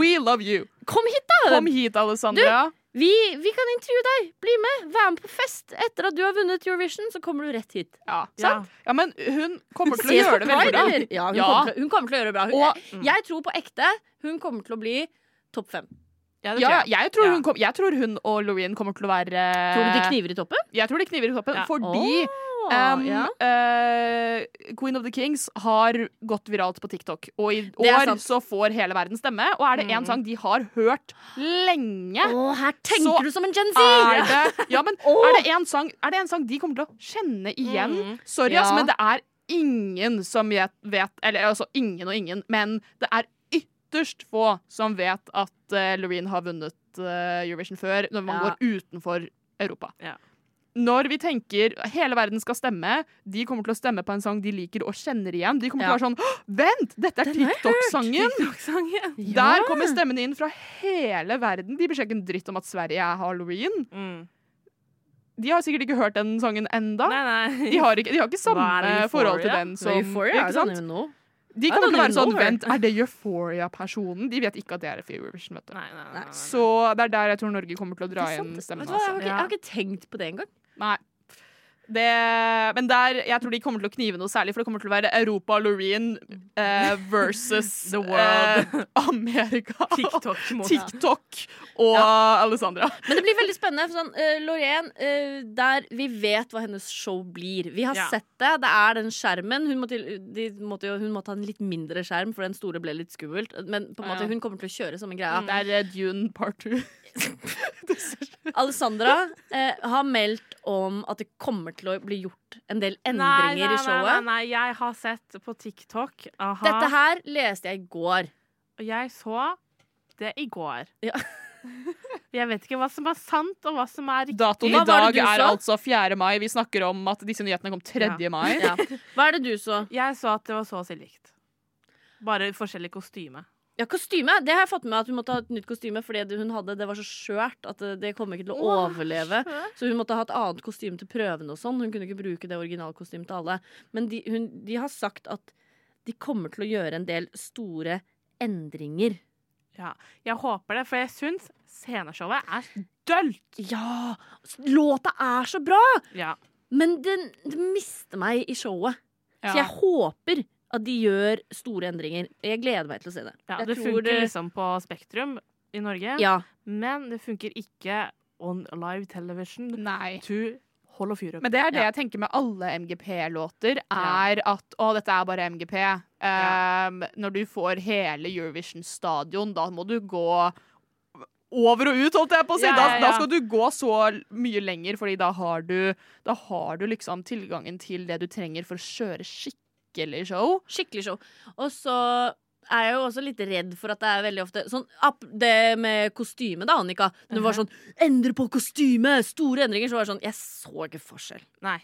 [SPEAKER 3] We love you.
[SPEAKER 1] Kom hit, da!
[SPEAKER 3] Kom hit, Alessandra.
[SPEAKER 1] Vi, vi kan intervjue deg. Bli med. Vær med på fest. Etter at du har vunnet Eurovision, så kommer du rett hit.
[SPEAKER 3] Ja.
[SPEAKER 2] Ja.
[SPEAKER 3] ja, men hun kommer til å
[SPEAKER 1] Ses på
[SPEAKER 3] gjøre det veldig
[SPEAKER 1] Pride,
[SPEAKER 3] bra.
[SPEAKER 1] eller? Ja, hun,
[SPEAKER 3] Ja.
[SPEAKER 1] Kommer til, hun kommer til å gjøre det bra. Hun, Mm.
[SPEAKER 3] Og-
[SPEAKER 1] jeg, jeg tror på ekte hun kommer til å bli topp fem.
[SPEAKER 2] Ja, det tror
[SPEAKER 3] Ja,
[SPEAKER 2] jeg.
[SPEAKER 3] jeg tror,
[SPEAKER 2] Ja.
[SPEAKER 3] hun kom, jeg tror hun og Loreen kommer til å være
[SPEAKER 1] Tror du de kniver i toppen?
[SPEAKER 3] Jeg tror de kniver i toppen,
[SPEAKER 2] Ja.
[SPEAKER 3] fordi
[SPEAKER 1] Åh,
[SPEAKER 3] um,
[SPEAKER 1] ja.
[SPEAKER 3] eh, Queen of the Kings har gått viralt på TikTok. Og i
[SPEAKER 1] Det er
[SPEAKER 3] år
[SPEAKER 1] sant. Mm.
[SPEAKER 3] så får hele verden stemme. Og er det én sang de har hørt lenge,
[SPEAKER 1] Åh, her tenker
[SPEAKER 3] Så
[SPEAKER 1] du som en Gen Z!
[SPEAKER 3] er det Ja, men er det én sang, er det en sang de kommer til å kjenne igjen? Sorry,
[SPEAKER 1] Mm. Ja.
[SPEAKER 3] ass, men det er ingen som vet, vet Eller altså ingen og ingen, men det er ytterst få som vet at uh, Loreen har vunnet eh, Eurovision før, når man
[SPEAKER 1] Ja.
[SPEAKER 3] går utenfor Europa.
[SPEAKER 2] Ja.
[SPEAKER 3] Når vi tenker hele verden skal stemme, de kommer til å stemme på en sang de liker og kjenner igjen. De kommer
[SPEAKER 1] Ja.
[SPEAKER 3] til å være sånn «Hå, Vent, dette er TikTok-sangen!
[SPEAKER 2] TikTok-sangen.
[SPEAKER 3] Der kommer stemmene inn fra hele verden. De bryr seg ikke en dritt om at Sverige er Halloween.
[SPEAKER 2] Mm.
[SPEAKER 3] De har sikkert ikke hørt den sangen enda.
[SPEAKER 2] Nei, nei.
[SPEAKER 3] De har ikke, de har ikke samme eh,
[SPEAKER 2] Hva er Euphoria?
[SPEAKER 3] forhold til den som
[SPEAKER 1] Euphoria, sånn?
[SPEAKER 3] ikke
[SPEAKER 1] I don't
[SPEAKER 3] sant?
[SPEAKER 1] even know.
[SPEAKER 3] De
[SPEAKER 1] I
[SPEAKER 3] kommer
[SPEAKER 1] don't
[SPEAKER 3] til å være
[SPEAKER 1] even
[SPEAKER 3] sånn
[SPEAKER 1] know her.
[SPEAKER 3] Vent, er det Euphoria-personen? De vet ikke at det er for Eurovision, vet du.
[SPEAKER 2] Nei, nei, nei, nei, nei.
[SPEAKER 3] Så det er der jeg tror Norge kommer til å dra
[SPEAKER 1] Det er sant.
[SPEAKER 3] inn
[SPEAKER 1] Vet
[SPEAKER 3] stemmen.
[SPEAKER 1] du hva, jeg, har
[SPEAKER 3] Altså.
[SPEAKER 1] ikke, jeg har ikke tenkt på det engang.
[SPEAKER 3] Nei. Det, men der, jeg tror de kommer til å knive noe særlig, for det kommer til å være Europa Loreen eh, versus
[SPEAKER 2] The world.
[SPEAKER 3] eh, Amerika.
[SPEAKER 2] TikTok mot
[SPEAKER 3] TikTok og Alessandra.
[SPEAKER 1] Men det blir veldig spennende. For sånn, eh, Lorraine, eh, der vi vet hva hennes show blir. Vi har
[SPEAKER 2] Ja.
[SPEAKER 1] sett det. Det er den skjermen. Hun måtte, de måtte jo, hun måtte ha en litt mindre skjerm, for den store ble litt skummelt. Men på en
[SPEAKER 3] Ja. Mm.
[SPEAKER 1] måte, hun kommer til å kjøre samme greia.
[SPEAKER 3] Det er eh, Dune part two.
[SPEAKER 1] Alessandra eh, har meldt om at det kommer til å bli gjort en del
[SPEAKER 2] Nei,
[SPEAKER 1] endringer
[SPEAKER 2] nei,
[SPEAKER 1] i showet.
[SPEAKER 2] Nei, nei, nei, jeg har sett på TikTok. Aha.
[SPEAKER 1] Dette her leste jeg i går.
[SPEAKER 2] Og jeg så det i går.
[SPEAKER 1] Ja.
[SPEAKER 2] jeg vet ikke hva som er sant, og hva som er riktig.
[SPEAKER 3] Datoen
[SPEAKER 1] Hva
[SPEAKER 3] i
[SPEAKER 1] var det
[SPEAKER 3] dag
[SPEAKER 1] du
[SPEAKER 3] er
[SPEAKER 1] sa?
[SPEAKER 3] altså 4. mai. Vi snakker om at disse nyhetene kom 3.
[SPEAKER 2] Ja.
[SPEAKER 3] mai.
[SPEAKER 1] Ja. Hva er det du så?
[SPEAKER 2] Jeg så at det var så å si likt. Bare forskjellig kostyme.
[SPEAKER 1] Ja, kostyme. Det har jeg fått med meg at hun måtte ha et nytt kostyme fordi det hun hadde, det var så skjørt at eh, det, det kom ikke til å
[SPEAKER 2] Åh,
[SPEAKER 1] overleve. Så hun måtte ha et annet kostyme til prøvene og sånn. Hun kunne ikke bruke det originalkostymet til alle. Men de, hun, de har sagt at de kommer til å gjøre en del store endringer.
[SPEAKER 2] Jeg håper det, for jeg syns sceneshowet er dølt.
[SPEAKER 1] Ja! Låta er så bra!
[SPEAKER 2] Ja.
[SPEAKER 1] Men den, den mister meg i showet. Så jeg håper at de gjør store endringer. Jeg gleder meg til å se det.
[SPEAKER 2] ja
[SPEAKER 1] Jeg
[SPEAKER 2] det
[SPEAKER 1] tror
[SPEAKER 2] funker
[SPEAKER 1] det-
[SPEAKER 2] liksom på Spektrum i Norge,
[SPEAKER 1] Ja.
[SPEAKER 2] men det funker ikke on live television
[SPEAKER 3] Nei.
[SPEAKER 2] to Hall of Europe.
[SPEAKER 3] Men det er det
[SPEAKER 2] Ja.
[SPEAKER 3] jeg tenker med alle MGP-låter, er at å, dette er bare MGP. Ehm, Når du får hele Eurovision-stadion, da må du gå over og ut, holdt jeg på å si.
[SPEAKER 2] Ja,
[SPEAKER 3] da,
[SPEAKER 2] ja, ja.
[SPEAKER 3] da skal du gå så mye lenger, fordi da har du, da har du liksom tilgangen til det du trenger for å kjøre skikkelig show.
[SPEAKER 1] Skikkelig show. Og så er jeg jo også litt redd for at det er veldig ofte sånn ap- Det med kostyme, da, Annika. Når det var sånn 'endre på kostyme', store endringer, så var det sånn Jeg så ikke forskjell.
[SPEAKER 2] Nei.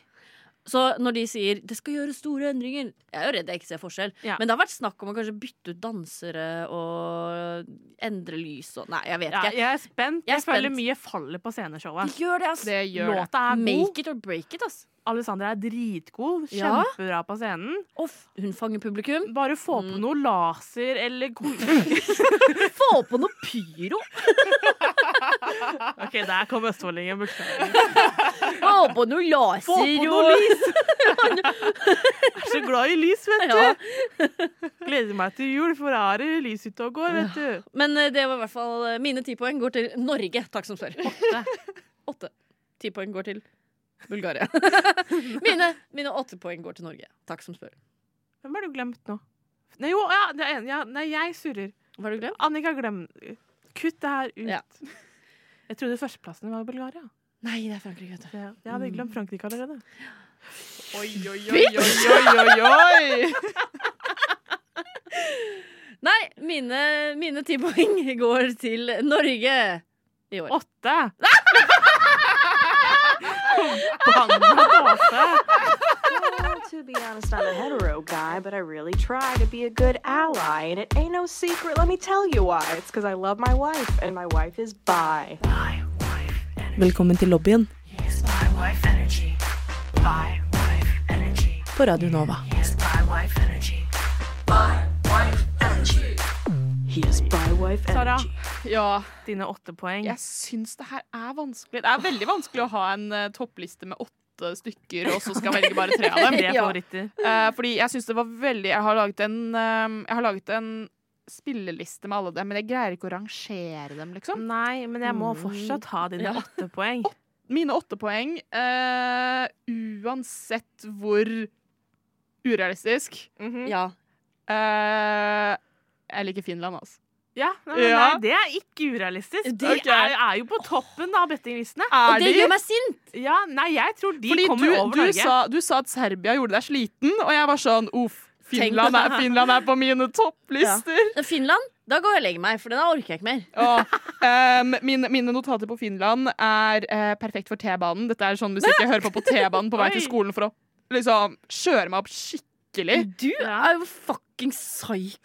[SPEAKER 1] Så når de sier 'det skal gjøres store endringer', jeg er jo redd jeg ikke ser forskjell.
[SPEAKER 2] Ja.
[SPEAKER 1] Men det har vært snakk om å kanskje bytte ut dansere og endre lys og Nei, jeg vet
[SPEAKER 2] Ja,
[SPEAKER 1] ikke.
[SPEAKER 2] jeg er spent.
[SPEAKER 1] Jeg
[SPEAKER 2] Jeg,
[SPEAKER 1] er
[SPEAKER 2] føler
[SPEAKER 1] spent.
[SPEAKER 2] mye faller på sceneshowet.
[SPEAKER 1] De gjør det, ass.
[SPEAKER 3] Det gjør det.
[SPEAKER 2] Låta er god.
[SPEAKER 1] Make it or break it, ass.
[SPEAKER 2] Alessandra er dritgod.
[SPEAKER 1] Ja.
[SPEAKER 2] Kjempebra på scenen.
[SPEAKER 1] Og f hun fanger publikum.
[SPEAKER 2] Bare få på
[SPEAKER 1] Mm.
[SPEAKER 2] noe laser eller
[SPEAKER 1] Få på noe pyro!
[SPEAKER 2] OK, der kom østfoldingen. Beklager.
[SPEAKER 1] Få på noe laser
[SPEAKER 2] Få på noe
[SPEAKER 1] og-
[SPEAKER 2] lys! Jeg er så glad i lys, vet du.
[SPEAKER 1] Ja.
[SPEAKER 2] Gleder meg til jul, for her er det lys ute og går, vet du.
[SPEAKER 1] Men eh, det var i hvert fall eh, mine ti poeng går til Norge. Takk som spør. Åtte. Ti poeng går til Bulgaria. mine, mine åtte poeng går til Norge. Takk som spør.
[SPEAKER 2] Hvem har du glemt nå? Nei, jo, ja, det er en, ja, nei, jeg surrer.
[SPEAKER 1] Hva har du glemt?
[SPEAKER 2] Annika, glem Kutt det her ut.
[SPEAKER 1] Ja.
[SPEAKER 2] Jeg trodde førsteplassen var i Bulgaria.
[SPEAKER 1] Nei, det er Frankrike, vet du.
[SPEAKER 2] Jeg jeg hadde glemt Frankrike allerede.
[SPEAKER 3] Mm. Oi, oi, oi, oi, oi, oi!
[SPEAKER 1] Nei, mine, mine ti poeng går til Norge i år.
[SPEAKER 2] Åtte! Forbanna gåte!
[SPEAKER 4] to be honest, I'm a hetero guy, but I really try to be a good ally. And it ain't no secret, let me tell you why. It's because I love my wife, and my wife is bi.
[SPEAKER 9] Velkommen til lobbyen
[SPEAKER 4] Yes, bi wife energy. Bi wife energy.
[SPEAKER 9] på Radio Nova.
[SPEAKER 4] Yes, bi wife energy. Bi wife energy. He is bi wife
[SPEAKER 2] Sara,
[SPEAKER 3] Ja,
[SPEAKER 2] dine åtte poeng.
[SPEAKER 3] jeg syns det her er vanskelig. Det er veldig vanskelig å ha en eh, toppliste med åtte stykker, og så skal jeg velge bare tre av dem.
[SPEAKER 2] Tre favoritter.
[SPEAKER 3] Eh, fordi jeg syns det var veldig Jeg har laget en, eh, jeg har laget en spilleliste med alle dem, men jeg greier ikke å rangere dem, liksom.
[SPEAKER 2] Nei, men jeg må fortsatt ha dine åtte poeng.
[SPEAKER 3] Mine åtte poeng, eh, uansett hvor urealistisk
[SPEAKER 1] Ja.
[SPEAKER 3] eh, Jeg liker Finland, altså.
[SPEAKER 2] Ja, nei, men
[SPEAKER 3] Ja.
[SPEAKER 2] nei, Det er ikke urealistisk. De
[SPEAKER 3] Ok.
[SPEAKER 2] er, er jo på toppen av bettinglistene.
[SPEAKER 1] Og
[SPEAKER 3] Er
[SPEAKER 1] det
[SPEAKER 3] de?
[SPEAKER 1] gjør meg sint!
[SPEAKER 2] Ja, nei, jeg tror de
[SPEAKER 3] Fordi
[SPEAKER 2] kommer
[SPEAKER 3] du,
[SPEAKER 2] over
[SPEAKER 3] du,
[SPEAKER 2] Norge.
[SPEAKER 3] sa, du sa at Serbia gjorde deg sliten, og jeg var sånn uff.
[SPEAKER 1] Tenk
[SPEAKER 3] Finland
[SPEAKER 1] på
[SPEAKER 3] er, Finland er på mine topplister!
[SPEAKER 1] Finland, da går jeg og legger meg, for den orker jeg ikke mer.
[SPEAKER 3] Og, ehm, mine, mine notater på Finland er eh, perfekt for T-banen. Dette er sånn musikk jeg hører på på T-banen på vei til
[SPEAKER 2] Oi.
[SPEAKER 3] skolen for å liksom kjøre meg opp skikkelig.
[SPEAKER 1] Du
[SPEAKER 2] Ja.
[SPEAKER 1] er jo fucking psyk.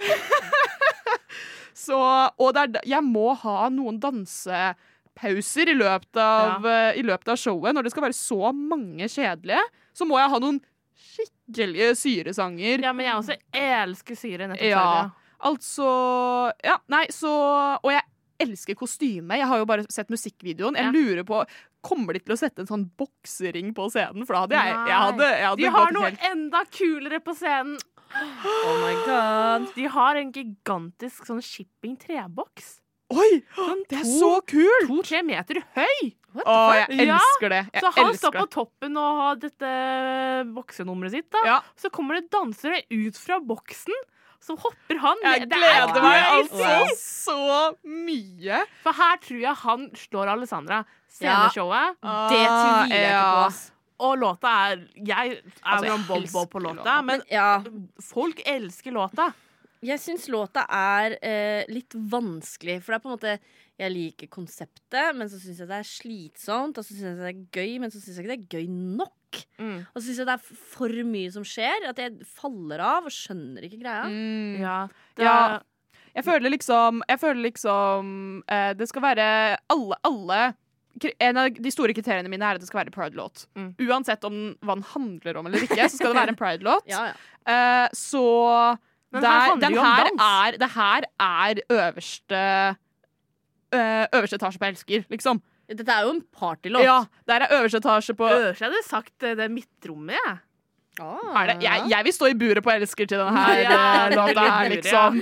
[SPEAKER 3] Så, og det er, da- jeg må ha noen dansepauser i løpet av, eh, i løpet av showet. Når det skal være så mange kjedelige, så må jeg ha noen skikkelige syresanger.
[SPEAKER 2] Ja, men jeg også elsker syre. Nettopp
[SPEAKER 3] Ja.
[SPEAKER 2] Serbia.
[SPEAKER 3] Altså Ja, nei, så Og jeg elsker kostyme. Jeg har jo bare sett musikkvideoen. Jeg
[SPEAKER 2] Ja.
[SPEAKER 3] lurer på Kommer de til å sette en sånn boksering på scenen? For da hadde jeg, jeg,
[SPEAKER 2] Nei.
[SPEAKER 3] hadde, jeg hadde
[SPEAKER 2] De har
[SPEAKER 3] gått
[SPEAKER 2] noe
[SPEAKER 3] helt-
[SPEAKER 2] enda kulere på scenen.
[SPEAKER 1] Oh my god.
[SPEAKER 2] De har en gigantisk sånn shipping treboks.
[SPEAKER 3] Oi!
[SPEAKER 2] Sånn
[SPEAKER 3] Det er
[SPEAKER 2] to-
[SPEAKER 3] så kult!
[SPEAKER 2] To-tre meter høy!
[SPEAKER 3] Å, jeg
[SPEAKER 2] Ja,
[SPEAKER 3] elsker det. Jeg
[SPEAKER 2] Så han står
[SPEAKER 3] elsker
[SPEAKER 2] på
[SPEAKER 3] det.
[SPEAKER 2] toppen og har dette boksenummeret sitt. da
[SPEAKER 3] Ja.
[SPEAKER 2] Så kommer det dansere ut fra boksen. så hopper han
[SPEAKER 3] Jeg
[SPEAKER 2] ned. Det er
[SPEAKER 3] gleder meg
[SPEAKER 2] crazy!
[SPEAKER 3] altså så mye.
[SPEAKER 2] For her tror jeg han slår Alessandra.
[SPEAKER 1] Ja.
[SPEAKER 2] Sceneshowet.
[SPEAKER 1] Det tviler jeg ikke på.
[SPEAKER 3] Ja.
[SPEAKER 1] ass.
[SPEAKER 2] Og låta er Jeg er
[SPEAKER 3] Altså, jeg
[SPEAKER 2] Grand Bob-Bob på
[SPEAKER 3] elsker
[SPEAKER 2] låta,
[SPEAKER 3] låta.
[SPEAKER 2] men
[SPEAKER 1] Ja.
[SPEAKER 2] folk elsker låta.
[SPEAKER 1] Jeg syns låta er eh, litt vanskelig, for det er på en måte Jeg liker konseptet, men så syns jeg det er slitsomt, og så syns jeg det er gøy, men så syns jeg ikke det er gøy nok.
[SPEAKER 2] Mm.
[SPEAKER 1] Og så syns jeg det er for mye som skjer, at jeg faller av og skjønner ikke greia.
[SPEAKER 3] Mm.
[SPEAKER 2] Ja. Det,
[SPEAKER 3] Ja. Jeg føler liksom, jeg føler liksom eh, Det skal være alle, alle kri- En av de store kriteriene mine er at det skal være pride-låt.
[SPEAKER 2] Mm.
[SPEAKER 3] Uansett om den, hva den handler om eller ikke, så skal det være en pride-låt.
[SPEAKER 1] Ja, ja.
[SPEAKER 3] Eh, så
[SPEAKER 2] Men
[SPEAKER 3] der,
[SPEAKER 2] her handler
[SPEAKER 3] den
[SPEAKER 2] det jo om
[SPEAKER 3] her
[SPEAKER 2] dans.
[SPEAKER 3] er, det her er øverste eh, Øverste etasje på Elsker, liksom.
[SPEAKER 1] Dette er jo en partylåt.
[SPEAKER 3] Ja, der er øverste etasje på
[SPEAKER 2] Øverste hadde sagt eh, det midtrommet, jeg.
[SPEAKER 1] Ah.
[SPEAKER 3] er det, jeg, jeg vil stå i buret på Elsker til denne her,
[SPEAKER 2] Ja,
[SPEAKER 3] eh,
[SPEAKER 2] det
[SPEAKER 3] låta
[SPEAKER 2] blir
[SPEAKER 3] her,
[SPEAKER 2] buret,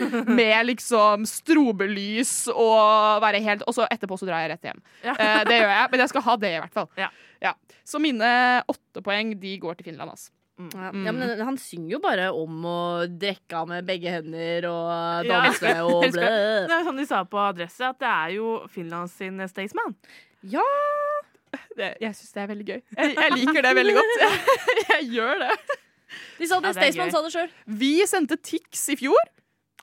[SPEAKER 3] liksom. Med liksom strobelys og være helt Og så etterpå så drar jeg rett hjem.
[SPEAKER 2] Ja.
[SPEAKER 3] Eh, det gjør jeg, men jeg skal ha det, i hvert fall.
[SPEAKER 2] Ja.
[SPEAKER 3] Ja. Så mine åtte poeng, de går til Finland, altså.
[SPEAKER 1] Ja, ja, men han synger jo bare om å drikke av med begge hender og
[SPEAKER 2] Ja.
[SPEAKER 1] danse og blø.
[SPEAKER 2] Det er jo sånn de sa på Adresse, at det er jo Finlands sin eh, Staysman.
[SPEAKER 1] Ja,
[SPEAKER 3] Det, jeg syns det er veldig gøy. Jeg, jeg liker det veldig godt. jeg gjør det.
[SPEAKER 1] de
[SPEAKER 2] Ja,
[SPEAKER 1] sa det,
[SPEAKER 2] det er
[SPEAKER 1] Staysman
[SPEAKER 2] gøy.
[SPEAKER 1] sa det sjøl.
[SPEAKER 3] Vi sendte Tix i fjor.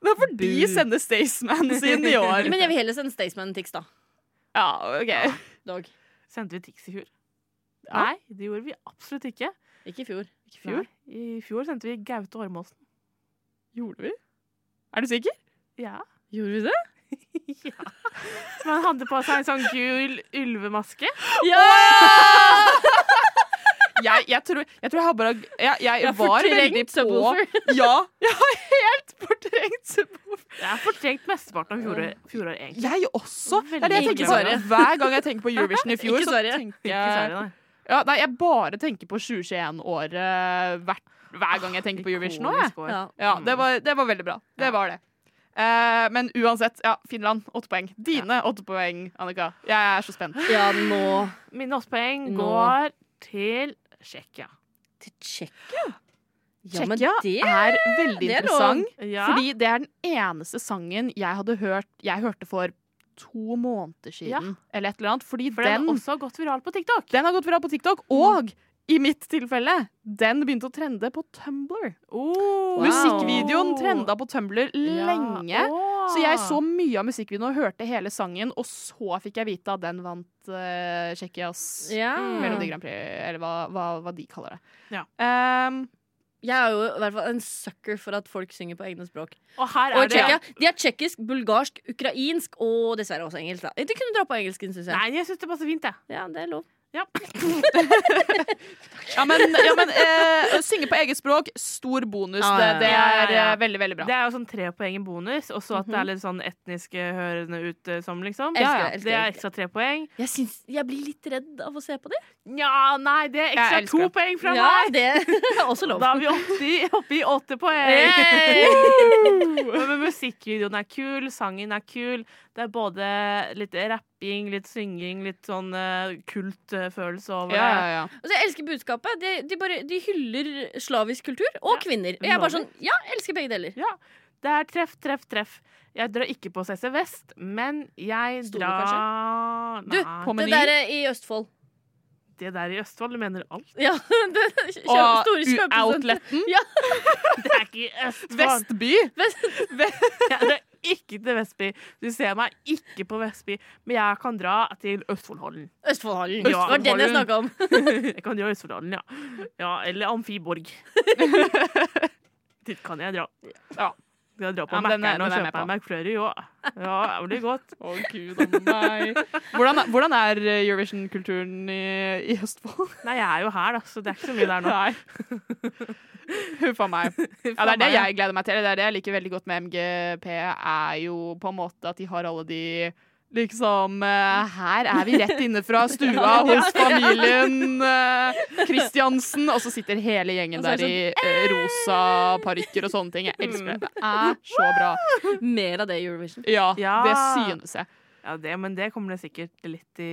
[SPEAKER 3] Det er fordi de sender Staysman sin i år.
[SPEAKER 1] Men jeg vil heller sende Staysman enn Tix, da.
[SPEAKER 3] Ja, OK.
[SPEAKER 1] Dog.
[SPEAKER 2] Sendte vi Tix i fjor?
[SPEAKER 3] Ja.
[SPEAKER 2] Nei, det gjorde vi absolutt ikke.
[SPEAKER 1] Ikke i fjor.
[SPEAKER 2] Ikke i fjor. I fjor sendte vi Gaute Ormåsen.
[SPEAKER 3] Gjorde vi? Er du sikker?
[SPEAKER 2] Ja.
[SPEAKER 3] Gjorde vi det?
[SPEAKER 2] ja. Som han hadde på seg en sånn gul ulvemaske.
[SPEAKER 3] jeg, jeg, tror, jeg tror jeg har bare Jeg, jeg,
[SPEAKER 1] Jeg har
[SPEAKER 3] var
[SPEAKER 1] fortrengt
[SPEAKER 3] veldig
[SPEAKER 1] subwoofer.
[SPEAKER 3] på Ja, jeg har helt fortrengt subwoofer.
[SPEAKER 2] Det er fortrengt mesteparten av fjoråret, fjoråret egentlig.
[SPEAKER 3] Jeg også. Det er det
[SPEAKER 2] Veldig
[SPEAKER 3] jeg tenker
[SPEAKER 2] Sverige.
[SPEAKER 3] på. Hver gang jeg tenker på Eurovision i fjor,
[SPEAKER 1] Ikke
[SPEAKER 3] så
[SPEAKER 1] Sverige.
[SPEAKER 3] tenker
[SPEAKER 2] Ikke
[SPEAKER 3] jeg
[SPEAKER 2] Sverige, nei.
[SPEAKER 3] ja, Nei, jeg bare tenker på 2021-året hvert- hver gang jeg tenker på Eurovision nå. Jeg.
[SPEAKER 2] Ikonisk år.
[SPEAKER 1] Ja.
[SPEAKER 3] Ja, det var, det var veldig bra. Det var det. Eh, men uansett, ja, Finland, åtte poeng. Dine åtte poeng, Annika. Jeg er så spent.
[SPEAKER 1] Ja, nå
[SPEAKER 2] Mine åttepoeng
[SPEAKER 1] Nå.
[SPEAKER 2] går til Tsjekkia.
[SPEAKER 1] Til Tsjekkia? Ja, men
[SPEAKER 3] Tsjekkia
[SPEAKER 1] det
[SPEAKER 3] er veldig
[SPEAKER 1] det er lov.
[SPEAKER 3] interessant.
[SPEAKER 2] Ja.
[SPEAKER 3] Fordi det er den eneste sangen jeg hadde hørt Jeg hørte for to måneder siden,
[SPEAKER 2] Ja.
[SPEAKER 3] eller et eller annet. Fordi
[SPEAKER 2] For den
[SPEAKER 3] den,
[SPEAKER 2] har også Mm. gått viralt på TikTok.
[SPEAKER 3] den har gått viralt på TikTok. Og i mitt tilfelle, den begynte å trende på Tumblr.
[SPEAKER 2] Oh,
[SPEAKER 3] Musikkvideoen trenda på Tumblr lenge.
[SPEAKER 2] Åh.
[SPEAKER 3] Så jeg så mye av musikkvideoen og hørte hele sangen, og så fikk jeg vite at den vant uh, Tsjekkias
[SPEAKER 1] ja.
[SPEAKER 3] Melodi Grand Prix, eller hva, hva, hva de kaller det.
[SPEAKER 2] Ja.
[SPEAKER 3] Ehm,
[SPEAKER 1] Jeg er jo i hvert fall en sucker for at folk synger på egne språk.
[SPEAKER 2] Og her
[SPEAKER 1] Og
[SPEAKER 2] er det
[SPEAKER 1] Tsjekkia de er tsjekkisk, bulgarsk, ukrainsk og dessverre også engelsk. Da. De kunne dra på engelsken, syns jeg.
[SPEAKER 2] Nei, jeg syns det passer fint, jeg.
[SPEAKER 1] Ja, det er lov.
[SPEAKER 2] Ja.
[SPEAKER 3] ja, men, ja, men eh, å synge på eget språk, stor bonus.
[SPEAKER 1] Ja, ja, ja.
[SPEAKER 3] Det, det
[SPEAKER 2] Ja,
[SPEAKER 3] er
[SPEAKER 2] ja, ja.
[SPEAKER 3] eh, veldig, veldig bra.
[SPEAKER 2] Det er jo sånn tre poeng i bonus, og så at det er litt sånn etnisk eh, hørende ut eh, som, liksom.
[SPEAKER 1] Elsker
[SPEAKER 2] Ja, ja.
[SPEAKER 1] det, elsker
[SPEAKER 2] Det er
[SPEAKER 1] det.
[SPEAKER 2] ekstra tre poeng.
[SPEAKER 1] Jeg, syns, jeg blir litt redd av å se på det.
[SPEAKER 2] Nja, nei, det er ekstra
[SPEAKER 3] Jeg elsker
[SPEAKER 2] to
[SPEAKER 3] det.
[SPEAKER 2] poeng fra
[SPEAKER 1] Ja,
[SPEAKER 2] meg!
[SPEAKER 1] det er også lov.
[SPEAKER 2] Da er vi oppe i, oppe i åtte poeng.
[SPEAKER 1] Yay!
[SPEAKER 2] Men men musikkvideoen er kul, sangen er kul. Det er både litt rapping, litt synging, litt sånn eh, kultfølelse over
[SPEAKER 3] Ja,
[SPEAKER 2] det.
[SPEAKER 3] ja, ja.
[SPEAKER 1] Altså, jeg elsker budskapet. De, de, bare, de hyller slavisk kultur og
[SPEAKER 2] Ja.
[SPEAKER 1] kvinner. Og jeg er bare sånn Ja, jeg elsker begge deler.
[SPEAKER 2] Det er treff, treff, treff. Jeg drar ikke på CC Vest, men jeg
[SPEAKER 1] Stoler,
[SPEAKER 2] drar
[SPEAKER 1] Du,
[SPEAKER 2] Nei,
[SPEAKER 1] Det
[SPEAKER 3] på Meny.
[SPEAKER 1] der eh, i Østfold.
[SPEAKER 2] Det der i Østfold, du mener alt?
[SPEAKER 1] Ja, det, kjø,
[SPEAKER 3] Og
[SPEAKER 1] store
[SPEAKER 3] u-
[SPEAKER 1] kjøpesenter.
[SPEAKER 3] outleten
[SPEAKER 2] Det er ikke i Østfold!
[SPEAKER 3] Vestby.
[SPEAKER 2] Jeg drar ikke til Vestby. Du ser meg ikke på Vestby, men jeg kan dra til Østfoldhallen.
[SPEAKER 1] Østfoldhallen.
[SPEAKER 2] Ja,
[SPEAKER 1] det var den jeg
[SPEAKER 2] Østfoldhallen.
[SPEAKER 1] snakka om.
[SPEAKER 2] Jeg kan dra Østfoldhallen, ja. ja. Eller Amfiborg. Dit kan jeg dra. Ja. Skal jeg dra på
[SPEAKER 3] Ja, men den er-
[SPEAKER 2] Mækkern og
[SPEAKER 3] den er jeg
[SPEAKER 2] kjøpe meg
[SPEAKER 3] med
[SPEAKER 2] McFlurry, jo. Ja, det blir godt.
[SPEAKER 3] Å, gud a meg. Hvordan, er- hvordan er Eurovision-kulturen i, i Østfold?
[SPEAKER 2] Nei, jeg er jo her, da, så det er ikke så mye der nå.
[SPEAKER 3] Nei. Huff a meg. Ja, det er det jeg gleder meg til. Det er det jeg liker veldig godt med MGP, er jo på en måte at de har alle de Liksom eh, Her er vi rett inne fra stua hos familien eh, Kristiansen. Og så sitter hele gjengen
[SPEAKER 1] Og så er
[SPEAKER 3] der i eh, rosa parykker og sånne ting. Jeg elsker det. Det er så bra.
[SPEAKER 1] Mer av det i Eurovision.
[SPEAKER 3] Ja,
[SPEAKER 2] Ja.
[SPEAKER 3] det synes jeg.
[SPEAKER 2] Ja, det, men det kommer det sikkert litt i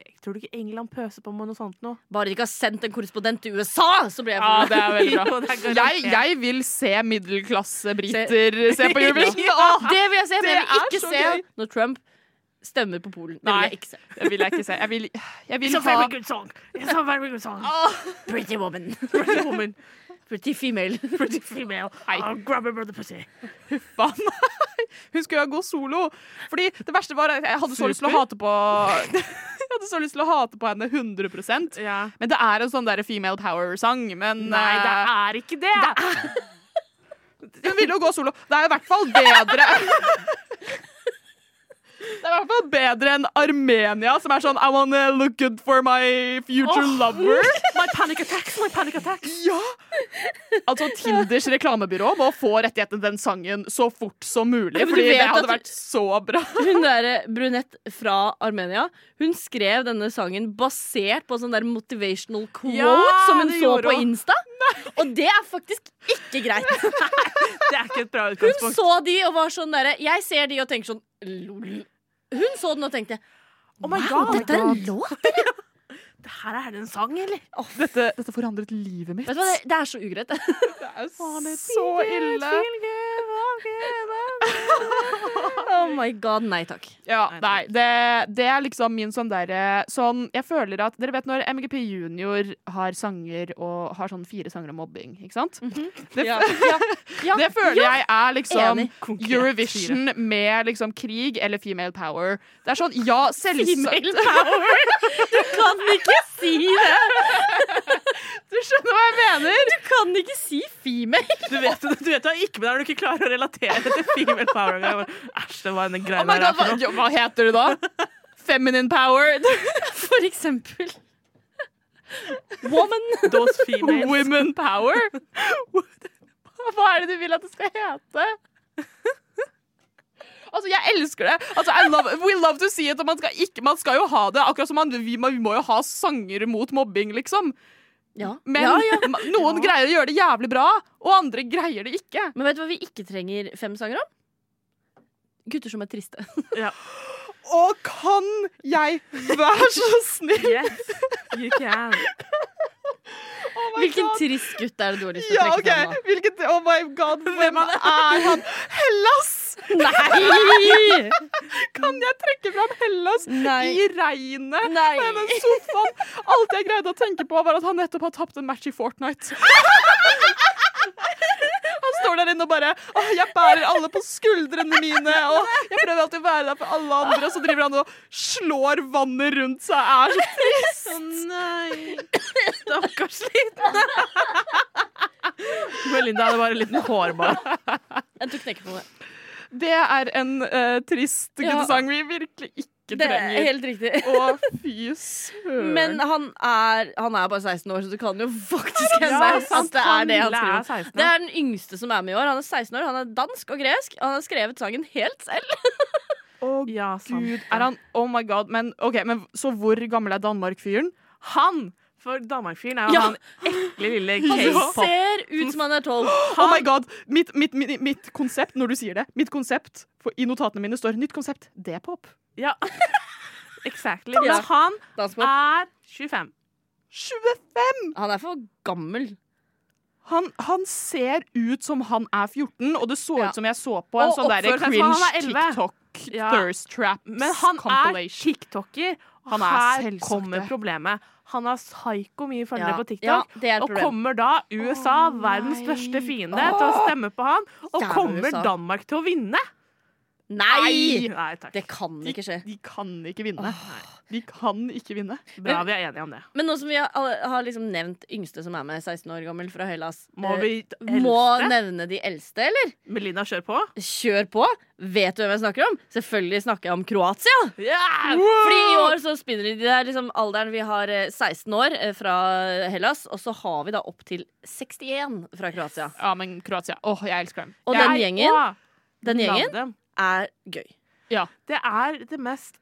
[SPEAKER 2] Jeg tror du ikke England pøser på med noe sånt nå?
[SPEAKER 1] Bare de ikke har sendt en korrespondent til USA, så blir jeg
[SPEAKER 3] Ja, det er veldig bra.
[SPEAKER 2] Jo, det er garantert.
[SPEAKER 3] Jeg, jeg vil se middelklasse-briter se på Eurovision! Åh,
[SPEAKER 1] Det vil jeg se, men jeg vil
[SPEAKER 3] Det er
[SPEAKER 1] ikke
[SPEAKER 3] så
[SPEAKER 1] se
[SPEAKER 3] gøy.
[SPEAKER 1] når Trump stemmer på Polen. Det
[SPEAKER 3] Nei.
[SPEAKER 1] vil jeg ikke se.
[SPEAKER 3] Det vil jeg ikke se. Jeg vil, jeg vil
[SPEAKER 2] It's a
[SPEAKER 3] ha
[SPEAKER 2] very good song. It's a very good song.
[SPEAKER 1] Pretty woman.
[SPEAKER 2] Pretty woman.
[SPEAKER 1] Pretty female.
[SPEAKER 2] Pretty female. I'll grab her by the pussy.
[SPEAKER 3] Hva? Nei! Hun skulle jo gå solo. Fordi det verste var at Jeg hadde så lyst til å hate på Jeg hadde så lyst til å hate på henne 100
[SPEAKER 2] Ja.
[SPEAKER 3] Men det er en sånn der female power-sang. Men
[SPEAKER 2] Nei, det
[SPEAKER 3] eh,
[SPEAKER 2] er ikke det!
[SPEAKER 3] hun ville jo gå solo. Det er i hvert fall bedre Det er i hvert fall bedre enn Armenia, som er sånn I wanna look good for my future lover.
[SPEAKER 2] My panic attacks, my panic attacks.
[SPEAKER 3] Ja! Altså, Tinders reklamebyrå må få rettigheten til den sangen så fort som mulig.
[SPEAKER 1] Ja, men du
[SPEAKER 3] Fordi
[SPEAKER 1] vet
[SPEAKER 3] det hadde
[SPEAKER 1] at-
[SPEAKER 3] vært så bra.
[SPEAKER 1] Hun der eh, brunett fra Armenia Hun skrev denne sangen basert på sånn der motivational quote
[SPEAKER 2] Ja,
[SPEAKER 1] som hun
[SPEAKER 2] det
[SPEAKER 1] så
[SPEAKER 2] gjorde
[SPEAKER 1] på
[SPEAKER 2] hun.
[SPEAKER 1] Insta. Og det er faktisk ikke greit.
[SPEAKER 2] Det er ikke et bra
[SPEAKER 1] Hun
[SPEAKER 2] utgangspunkt.
[SPEAKER 1] så de og var sånn derre Jeg ser de og tenker sånn lol. Hun så den og tenkte
[SPEAKER 2] Oh my
[SPEAKER 1] wow,
[SPEAKER 2] god,
[SPEAKER 1] dette er en låt.
[SPEAKER 2] her er det en sang, eller?
[SPEAKER 3] Dette, dette forandret livet mitt.
[SPEAKER 1] Vet du hva, det, det er så ugreit.
[SPEAKER 3] Det er jo så ille.
[SPEAKER 1] Oh my god, nei takk.
[SPEAKER 3] Ja, nei, det, det er liksom min sånn derre Sånn, jeg føler at Dere vet når MGP Junior har sanger og har sånn fire sanger om mobbing, ikke sant? det,
[SPEAKER 1] Mhm. Ja, ja, ja.
[SPEAKER 3] det føler jeg er liksom
[SPEAKER 1] Enig.
[SPEAKER 3] Eurovision med liksom krig eller female power. Det er sånn, ja, selvsagt
[SPEAKER 1] kan ikke si det!
[SPEAKER 3] Du skjønner hva jeg mener?
[SPEAKER 1] Du kan ikke si female.
[SPEAKER 2] Du vet du vet du har ikke med deg når du ikke klarer å relatere til female power. Jeg bare, Æsj, det var en
[SPEAKER 3] Oh
[SPEAKER 2] greie
[SPEAKER 3] my
[SPEAKER 2] der.
[SPEAKER 3] God, hva, jo, hva heter du da? Feminine power?
[SPEAKER 1] For eksempel. Woman.
[SPEAKER 2] Those females.
[SPEAKER 3] Women power? Hva er det du vil at det skal hete? Altså, Jeg elsker det. Altså, I love, we love to see it. Og man skal, ikke, man skal jo ha det. Akkurat som man, vi, man, vi må jo ha sanger mot mobbing, liksom.
[SPEAKER 1] Ja.
[SPEAKER 3] Men
[SPEAKER 1] ja, ja.
[SPEAKER 3] ma- noen greier å gjøre det jævlig bra, og andre greier det ikke.
[SPEAKER 1] Men vet du hva vi ikke trenger fem sanger om? Gutter som er triste.
[SPEAKER 3] Og kan jeg være så snill?
[SPEAKER 2] Yes, you can.
[SPEAKER 1] Hvilken trist gutt er det du sånn, har lyst til
[SPEAKER 3] Ja,
[SPEAKER 1] å
[SPEAKER 3] OK.
[SPEAKER 1] trekke fram?
[SPEAKER 3] Hvilket Oh my god, hvem er han? Hellas!
[SPEAKER 1] Nei!
[SPEAKER 3] Kan jeg trekke fram Hellas
[SPEAKER 1] Nei.
[SPEAKER 3] i regnet?
[SPEAKER 1] Nei.
[SPEAKER 3] Med den sofaen. Alt jeg greide å tenke på, var at han nettopp har tapt en match i Fortnite. Han står der inne og bare Åh, jeg bærer alle på skuldrene mine. Og jeg prøver alltid å være der for alle andre. Og så driver han og slår vannet rundt seg. Er så trist.
[SPEAKER 6] Å nei!
[SPEAKER 2] Stakkars liten. Melinda hadde bare en liten hårbar.
[SPEAKER 1] Jeg tok knekken på det.
[SPEAKER 3] Det er en eh, trist
[SPEAKER 1] Ja.
[SPEAKER 3] guttesang vi virkelig ikke
[SPEAKER 1] Det er
[SPEAKER 3] trenger.
[SPEAKER 1] helt riktig.
[SPEAKER 3] Å, fy søren.
[SPEAKER 1] Men han er, han er bare 16 år, så det kan jo faktisk hende
[SPEAKER 2] Ja, sant,
[SPEAKER 1] at det er det han skriver. om.
[SPEAKER 2] Lea er 16
[SPEAKER 1] Det
[SPEAKER 2] år.
[SPEAKER 1] er den yngste som er med i år. Han er 16 år, han er dansk og gresk. Han har skrevet sangen helt selv.
[SPEAKER 3] Å,
[SPEAKER 2] Ja, sant.
[SPEAKER 3] Gud, er han Oh my god. Men, ok, men så hvor gammel er Danmark-fyren?
[SPEAKER 2] Han! For Danmark-fyren er jo
[SPEAKER 1] Ja.
[SPEAKER 2] han ekle lille
[SPEAKER 1] Han
[SPEAKER 2] k-pop.
[SPEAKER 1] ser ut som han er 12.
[SPEAKER 3] Oh my god, mitt, mitt, mitt, mitt konsept når du sier det Mitt konsept, for i notatene mine står 'nytt konsept'. Det er pop.
[SPEAKER 2] Ja. Exactly. Men
[SPEAKER 1] Ja.
[SPEAKER 2] han
[SPEAKER 1] Danspop.
[SPEAKER 2] er 25.
[SPEAKER 3] 25!
[SPEAKER 1] Han er for gammel.
[SPEAKER 3] Han, han ser ut som han er 14, og det så
[SPEAKER 1] Ja.
[SPEAKER 3] ut som jeg så på
[SPEAKER 2] Og
[SPEAKER 3] en sånn derre
[SPEAKER 2] oppførte seg som
[SPEAKER 3] cringe
[SPEAKER 2] han var 11.
[SPEAKER 3] TikTok
[SPEAKER 2] Ja.
[SPEAKER 3] thirst traps
[SPEAKER 2] Men han er
[SPEAKER 3] compilation.
[SPEAKER 2] tiktoker.
[SPEAKER 3] Han er
[SPEAKER 2] Her
[SPEAKER 3] selvsagt
[SPEAKER 2] kommer
[SPEAKER 3] det.
[SPEAKER 2] problemet. Han har psyko mye følgere
[SPEAKER 1] Ja,
[SPEAKER 2] på TikTok.
[SPEAKER 1] ja, det er et
[SPEAKER 2] og
[SPEAKER 1] problem.
[SPEAKER 2] kommer da USA, verdens største fiende, til å stemme på han. Og
[SPEAKER 1] Jævla
[SPEAKER 2] kommer
[SPEAKER 1] USA.
[SPEAKER 2] Danmark til å vinne?
[SPEAKER 1] Nei!
[SPEAKER 2] Nei takk.
[SPEAKER 1] Det kan ikke skje.
[SPEAKER 3] De kan ikke vinne. De kan ikke vinne.
[SPEAKER 2] Bra vi er enige om det.
[SPEAKER 1] Men nå som vi har, har liksom nevnt yngste som er med, 16 år gammel fra Hellas
[SPEAKER 2] Må
[SPEAKER 1] eh,
[SPEAKER 2] vi
[SPEAKER 1] må
[SPEAKER 2] eldste?
[SPEAKER 1] nevne de eldste, eller?
[SPEAKER 2] Melina, kjør på.
[SPEAKER 1] Kjør på! Vet du hvem jeg snakker om? Selvfølgelig snakker jeg om Kroatia!
[SPEAKER 2] Yeah!
[SPEAKER 1] Fordi i år så spinner de der liksom alderen vi har eh, 16 år eh, fra Hellas, og så har vi da opp til 61 fra Kroatia.
[SPEAKER 3] Ja, men Kroatia. Åh, jeg elsker dem.
[SPEAKER 1] Og den gjengen, den gjengen
[SPEAKER 2] dem.
[SPEAKER 1] er gøy.
[SPEAKER 2] Det er det mest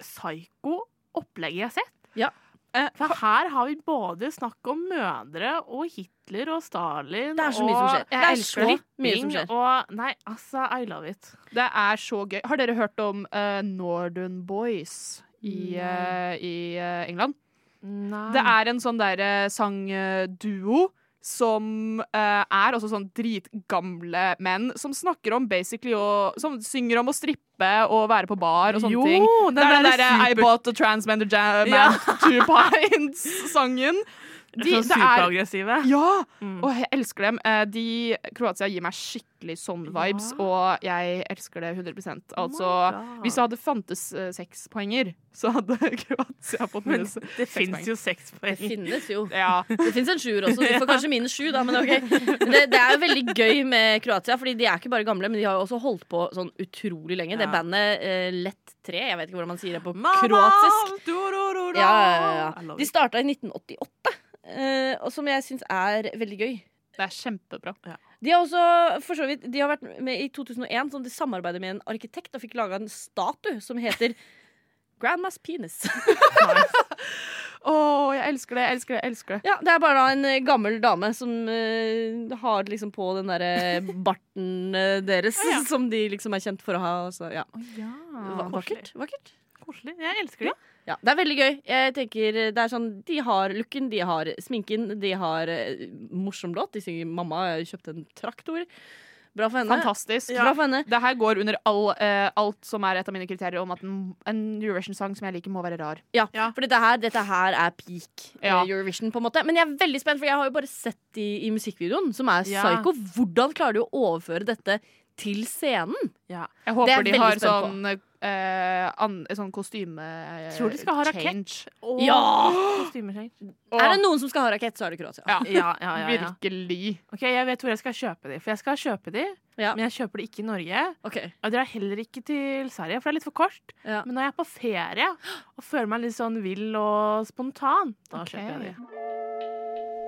[SPEAKER 2] psyko opplegget jeg har sett.
[SPEAKER 1] Ja.
[SPEAKER 3] Eh,
[SPEAKER 2] For her har vi både snakk om mødre og Hitler og Stalin.
[SPEAKER 1] Det er så mye som
[SPEAKER 2] og
[SPEAKER 1] skjer.
[SPEAKER 2] jeg
[SPEAKER 1] Det er
[SPEAKER 2] elsker
[SPEAKER 1] så mye som
[SPEAKER 2] klipping
[SPEAKER 1] skjer.
[SPEAKER 2] Og, nei, altså, I love it.
[SPEAKER 3] Det er så gøy. Har dere hørt om eh, Northern Boys i, eh, i eh, England?
[SPEAKER 2] Nei.
[SPEAKER 3] Det er en sånn derre sangduo som eh, er også sånn dritgamle menn som snakker om basically å Som synger om å strippe og være på bar og sånne
[SPEAKER 2] jo,
[SPEAKER 3] ting.
[SPEAKER 2] den
[SPEAKER 3] Det er den
[SPEAKER 2] der eh,
[SPEAKER 3] derre I
[SPEAKER 2] super-
[SPEAKER 3] bought a transmender jam
[SPEAKER 2] Ja.
[SPEAKER 3] man two pints-sangen. De-
[SPEAKER 1] sånn
[SPEAKER 2] så
[SPEAKER 3] det er-
[SPEAKER 2] superaggressive.
[SPEAKER 3] Ja!
[SPEAKER 2] Mm.
[SPEAKER 3] Og jeg elsker dem. Eh, De, Kroatia gir meg skikkelig sånn vibes,
[SPEAKER 2] Ja.
[SPEAKER 3] og jeg elsker det 100 Altså,
[SPEAKER 2] my God.
[SPEAKER 3] hvis det hadde fantes eh, sekspoenger, så hadde Kroatia fått
[SPEAKER 2] Men
[SPEAKER 3] minus
[SPEAKER 2] det fins jo seks
[SPEAKER 1] Det
[SPEAKER 2] poeng.
[SPEAKER 1] finnes jo.
[SPEAKER 3] Ja.
[SPEAKER 1] Det fins en sjuer også. Du får kanskje minus sju, da, men ok. Men Det, det er jo veldig gøy med Kroatia, Fordi de er ikke bare gamle, men de har jo også holdt på sånn utrolig lenge. Det
[SPEAKER 2] Ja.
[SPEAKER 1] bandet eh, Lett 3, jeg vet ikke hvordan man sier det på kroatisk.
[SPEAKER 2] Dorororo.
[SPEAKER 1] Ja, ja, ja,
[SPEAKER 2] I
[SPEAKER 1] ja.
[SPEAKER 2] love
[SPEAKER 1] De
[SPEAKER 2] it.
[SPEAKER 1] starta i 1988, eh, og som jeg syns er veldig gøy.
[SPEAKER 3] Det er kjempebra.
[SPEAKER 1] De har også for så vidt, de har vært med i 2001, som de samarbeidet med en arkitekt og fikk laga en statue som heter Grandmas penis.
[SPEAKER 3] Å, jeg elsker det, jeg elsker det, jeg elsker det.
[SPEAKER 1] Ja, Det er bare da en eh, gammel dame som eh, har liksom på den derre barten eh, deres, som de liksom er kjent for å ha. Så, ja. Va- vakkert. vakkert.
[SPEAKER 2] Koselig. Jeg elsker det.
[SPEAKER 1] Ja, Det er veldig gøy. Jeg tenker eh, det er sånn, De har looken, de har sminken, de har eh, morsom låt. De synger 'Mamma kjøpte en traktor'. Bra for henne.
[SPEAKER 3] Fantastisk.
[SPEAKER 1] Bra for henne.
[SPEAKER 3] Det her går under all, eh, alt som er et av mine kriterier om at en, en Eurovision-sang som jeg liker, må være rar.
[SPEAKER 1] Ja,
[SPEAKER 2] Ja.
[SPEAKER 1] for dette her, dette her er peak eh,
[SPEAKER 3] Ja.
[SPEAKER 1] Eurovision, på en måte. Men jeg er veldig spent, for jeg har jo bare sett de i musikkvideoen, som er
[SPEAKER 2] Ja.
[SPEAKER 1] psycho. Hvordan klarer de å overføre dette til scenen?
[SPEAKER 3] Jeg
[SPEAKER 1] Det er
[SPEAKER 3] håper de
[SPEAKER 1] veldig
[SPEAKER 3] har
[SPEAKER 1] spent på.
[SPEAKER 3] sånn, eh, an, sånn kostyme... eh,
[SPEAKER 2] Tror de skal ha rakett.
[SPEAKER 3] change.
[SPEAKER 2] Åh,
[SPEAKER 1] Ja!
[SPEAKER 2] Kostymecheck.
[SPEAKER 1] Er det noen som skal ha rakett, så er det Kroatia.
[SPEAKER 3] Ja,
[SPEAKER 2] Ja, ja, ja, ja.
[SPEAKER 3] virkelig.
[SPEAKER 2] Ok, Jeg vet hvor jeg skal kjøpe de. For jeg skal kjøpe de,
[SPEAKER 1] Ja.
[SPEAKER 2] men jeg kjøper de ikke i Norge.
[SPEAKER 1] Ok.
[SPEAKER 2] Og drar heller ikke til Sverige, for det er litt for kort.
[SPEAKER 1] Ja.
[SPEAKER 2] Men når jeg er på ferie og føler meg litt sånn vill og spontan, da
[SPEAKER 3] Ok.
[SPEAKER 2] kjøper jeg de.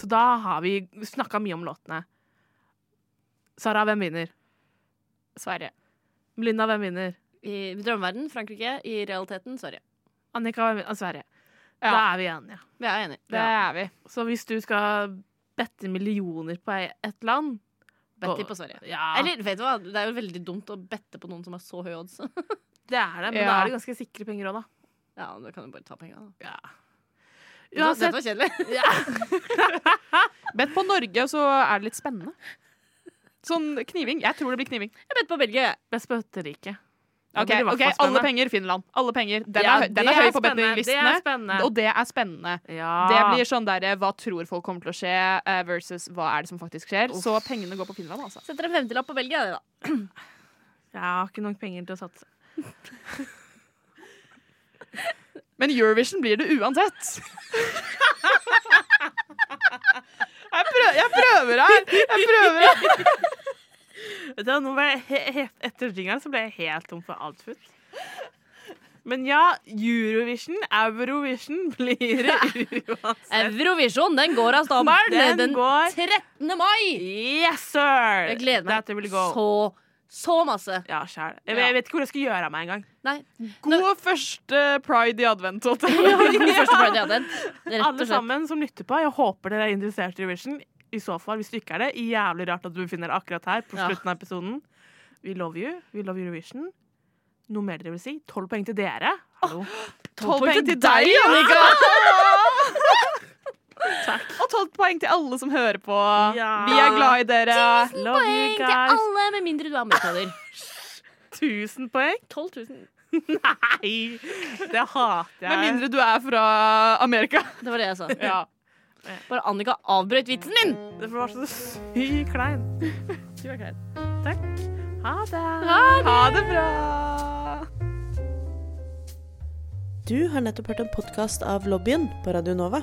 [SPEAKER 2] Så da har vi snakka mye om låtene. Sara, hvem vinner?
[SPEAKER 3] Sverige.
[SPEAKER 2] Melinda, hvem vinner?
[SPEAKER 1] I drømmeverden, Frankrike. I realiteten, Sverige.
[SPEAKER 2] Annika, hvem vinner? Ah, Sverige.
[SPEAKER 3] Ja.
[SPEAKER 2] Da er vi enige.
[SPEAKER 1] Vi er enige.
[SPEAKER 3] Det er vi.
[SPEAKER 2] Så hvis du skal bette millioner på ei- et land
[SPEAKER 1] Betty på Sverige.
[SPEAKER 2] Ja,
[SPEAKER 1] Eller, vet du hva? Det er jo veldig dumt å bette på noen som har så høy odds.
[SPEAKER 2] det er det, men da
[SPEAKER 3] Ja.
[SPEAKER 2] er det ganske sikre penger òg, da.
[SPEAKER 1] Ja, men da kan du bare ta pengene. da.
[SPEAKER 2] Uansett,
[SPEAKER 1] Dette var kjedelig.
[SPEAKER 3] Bet på Norge, så er det litt spennende. Sånn kniving. Jeg tror det blir kniving.
[SPEAKER 1] Jeg better på Belgia, jeg.
[SPEAKER 2] best på Østerrike. Da
[SPEAKER 3] Ok,
[SPEAKER 2] blir det i hvert
[SPEAKER 3] ok,
[SPEAKER 2] fall
[SPEAKER 3] Alle
[SPEAKER 2] spennende.
[SPEAKER 3] penger Finland. Alle penger. Den
[SPEAKER 2] Ja,
[SPEAKER 3] er, høy- den
[SPEAKER 2] det
[SPEAKER 3] er høy
[SPEAKER 2] er
[SPEAKER 3] på
[SPEAKER 2] spennende. Det er
[SPEAKER 3] bettinglistene.
[SPEAKER 2] spennende.
[SPEAKER 3] Og det er spennende.
[SPEAKER 2] Ja.
[SPEAKER 3] Det blir sånn derre hva tror folk kommer til å skje, eh, versus hva er det som faktisk skjer. Så pengene går på Finland, altså.
[SPEAKER 1] Setter en femtilapp på Belgia, jeg, da.
[SPEAKER 2] Jeg har ikke nok penger til å satse.
[SPEAKER 3] Men Eurovision blir det uansett. Jeg, prø- jeg prøver her! Jeg prøver her.
[SPEAKER 2] Vet du, hva, nå ble jeg he he etter jingeren så ble jeg helt tom for alt food. Men ja, Eurovision, Eurovision blir det uansett.
[SPEAKER 1] Eurovision, den går av stabelen
[SPEAKER 2] Den
[SPEAKER 1] den,
[SPEAKER 2] går-
[SPEAKER 1] 13. mai!
[SPEAKER 2] Yes, sir!
[SPEAKER 1] Jeg gleder meg
[SPEAKER 2] That will go.
[SPEAKER 1] så, så masse.
[SPEAKER 2] Ja, sjæl. Jeg,
[SPEAKER 1] Ja.
[SPEAKER 2] jeg vet ikke hvor jeg skal gjøre av meg engang.
[SPEAKER 1] Nei,
[SPEAKER 3] God første pride i advent. holdt jeg på å si.
[SPEAKER 1] den første pride jeg hadde. Rett og
[SPEAKER 2] Alle
[SPEAKER 1] slett.
[SPEAKER 2] sammen som lytter på, jeg håper dere er interessert i Eurovision. I så fall, hvis du ikke er det, jævlig rart at du befinner deg akkurat her på
[SPEAKER 1] Ja.
[SPEAKER 2] slutten av episoden. We love you. We love Eurovision. Noe mer dere vil si? Tolv poeng til dere. Hallo.
[SPEAKER 3] Tolv
[SPEAKER 1] poeng til deg, Annika!
[SPEAKER 3] Og tolv poeng til alle som hører på.
[SPEAKER 2] Ja.
[SPEAKER 3] Vi er glad i dere.
[SPEAKER 2] Love you
[SPEAKER 1] Poeng til
[SPEAKER 2] guys.
[SPEAKER 1] alle, med mindre du er amerikaner.
[SPEAKER 2] Tusen poeng.
[SPEAKER 1] 12 000.
[SPEAKER 2] Nei, det hater jeg.
[SPEAKER 3] Med mindre du er fra Amerika.
[SPEAKER 1] Det var det jeg sa.
[SPEAKER 3] Ja.
[SPEAKER 1] Bare Annika avbrøt vitsen din!
[SPEAKER 2] Det var så sykt klein.
[SPEAKER 1] Du er klein.
[SPEAKER 2] Takk. Ha det!
[SPEAKER 3] Ha det bra!
[SPEAKER 9] Du har nettopp hørt en podkast av Lobbyen på Radio Nova.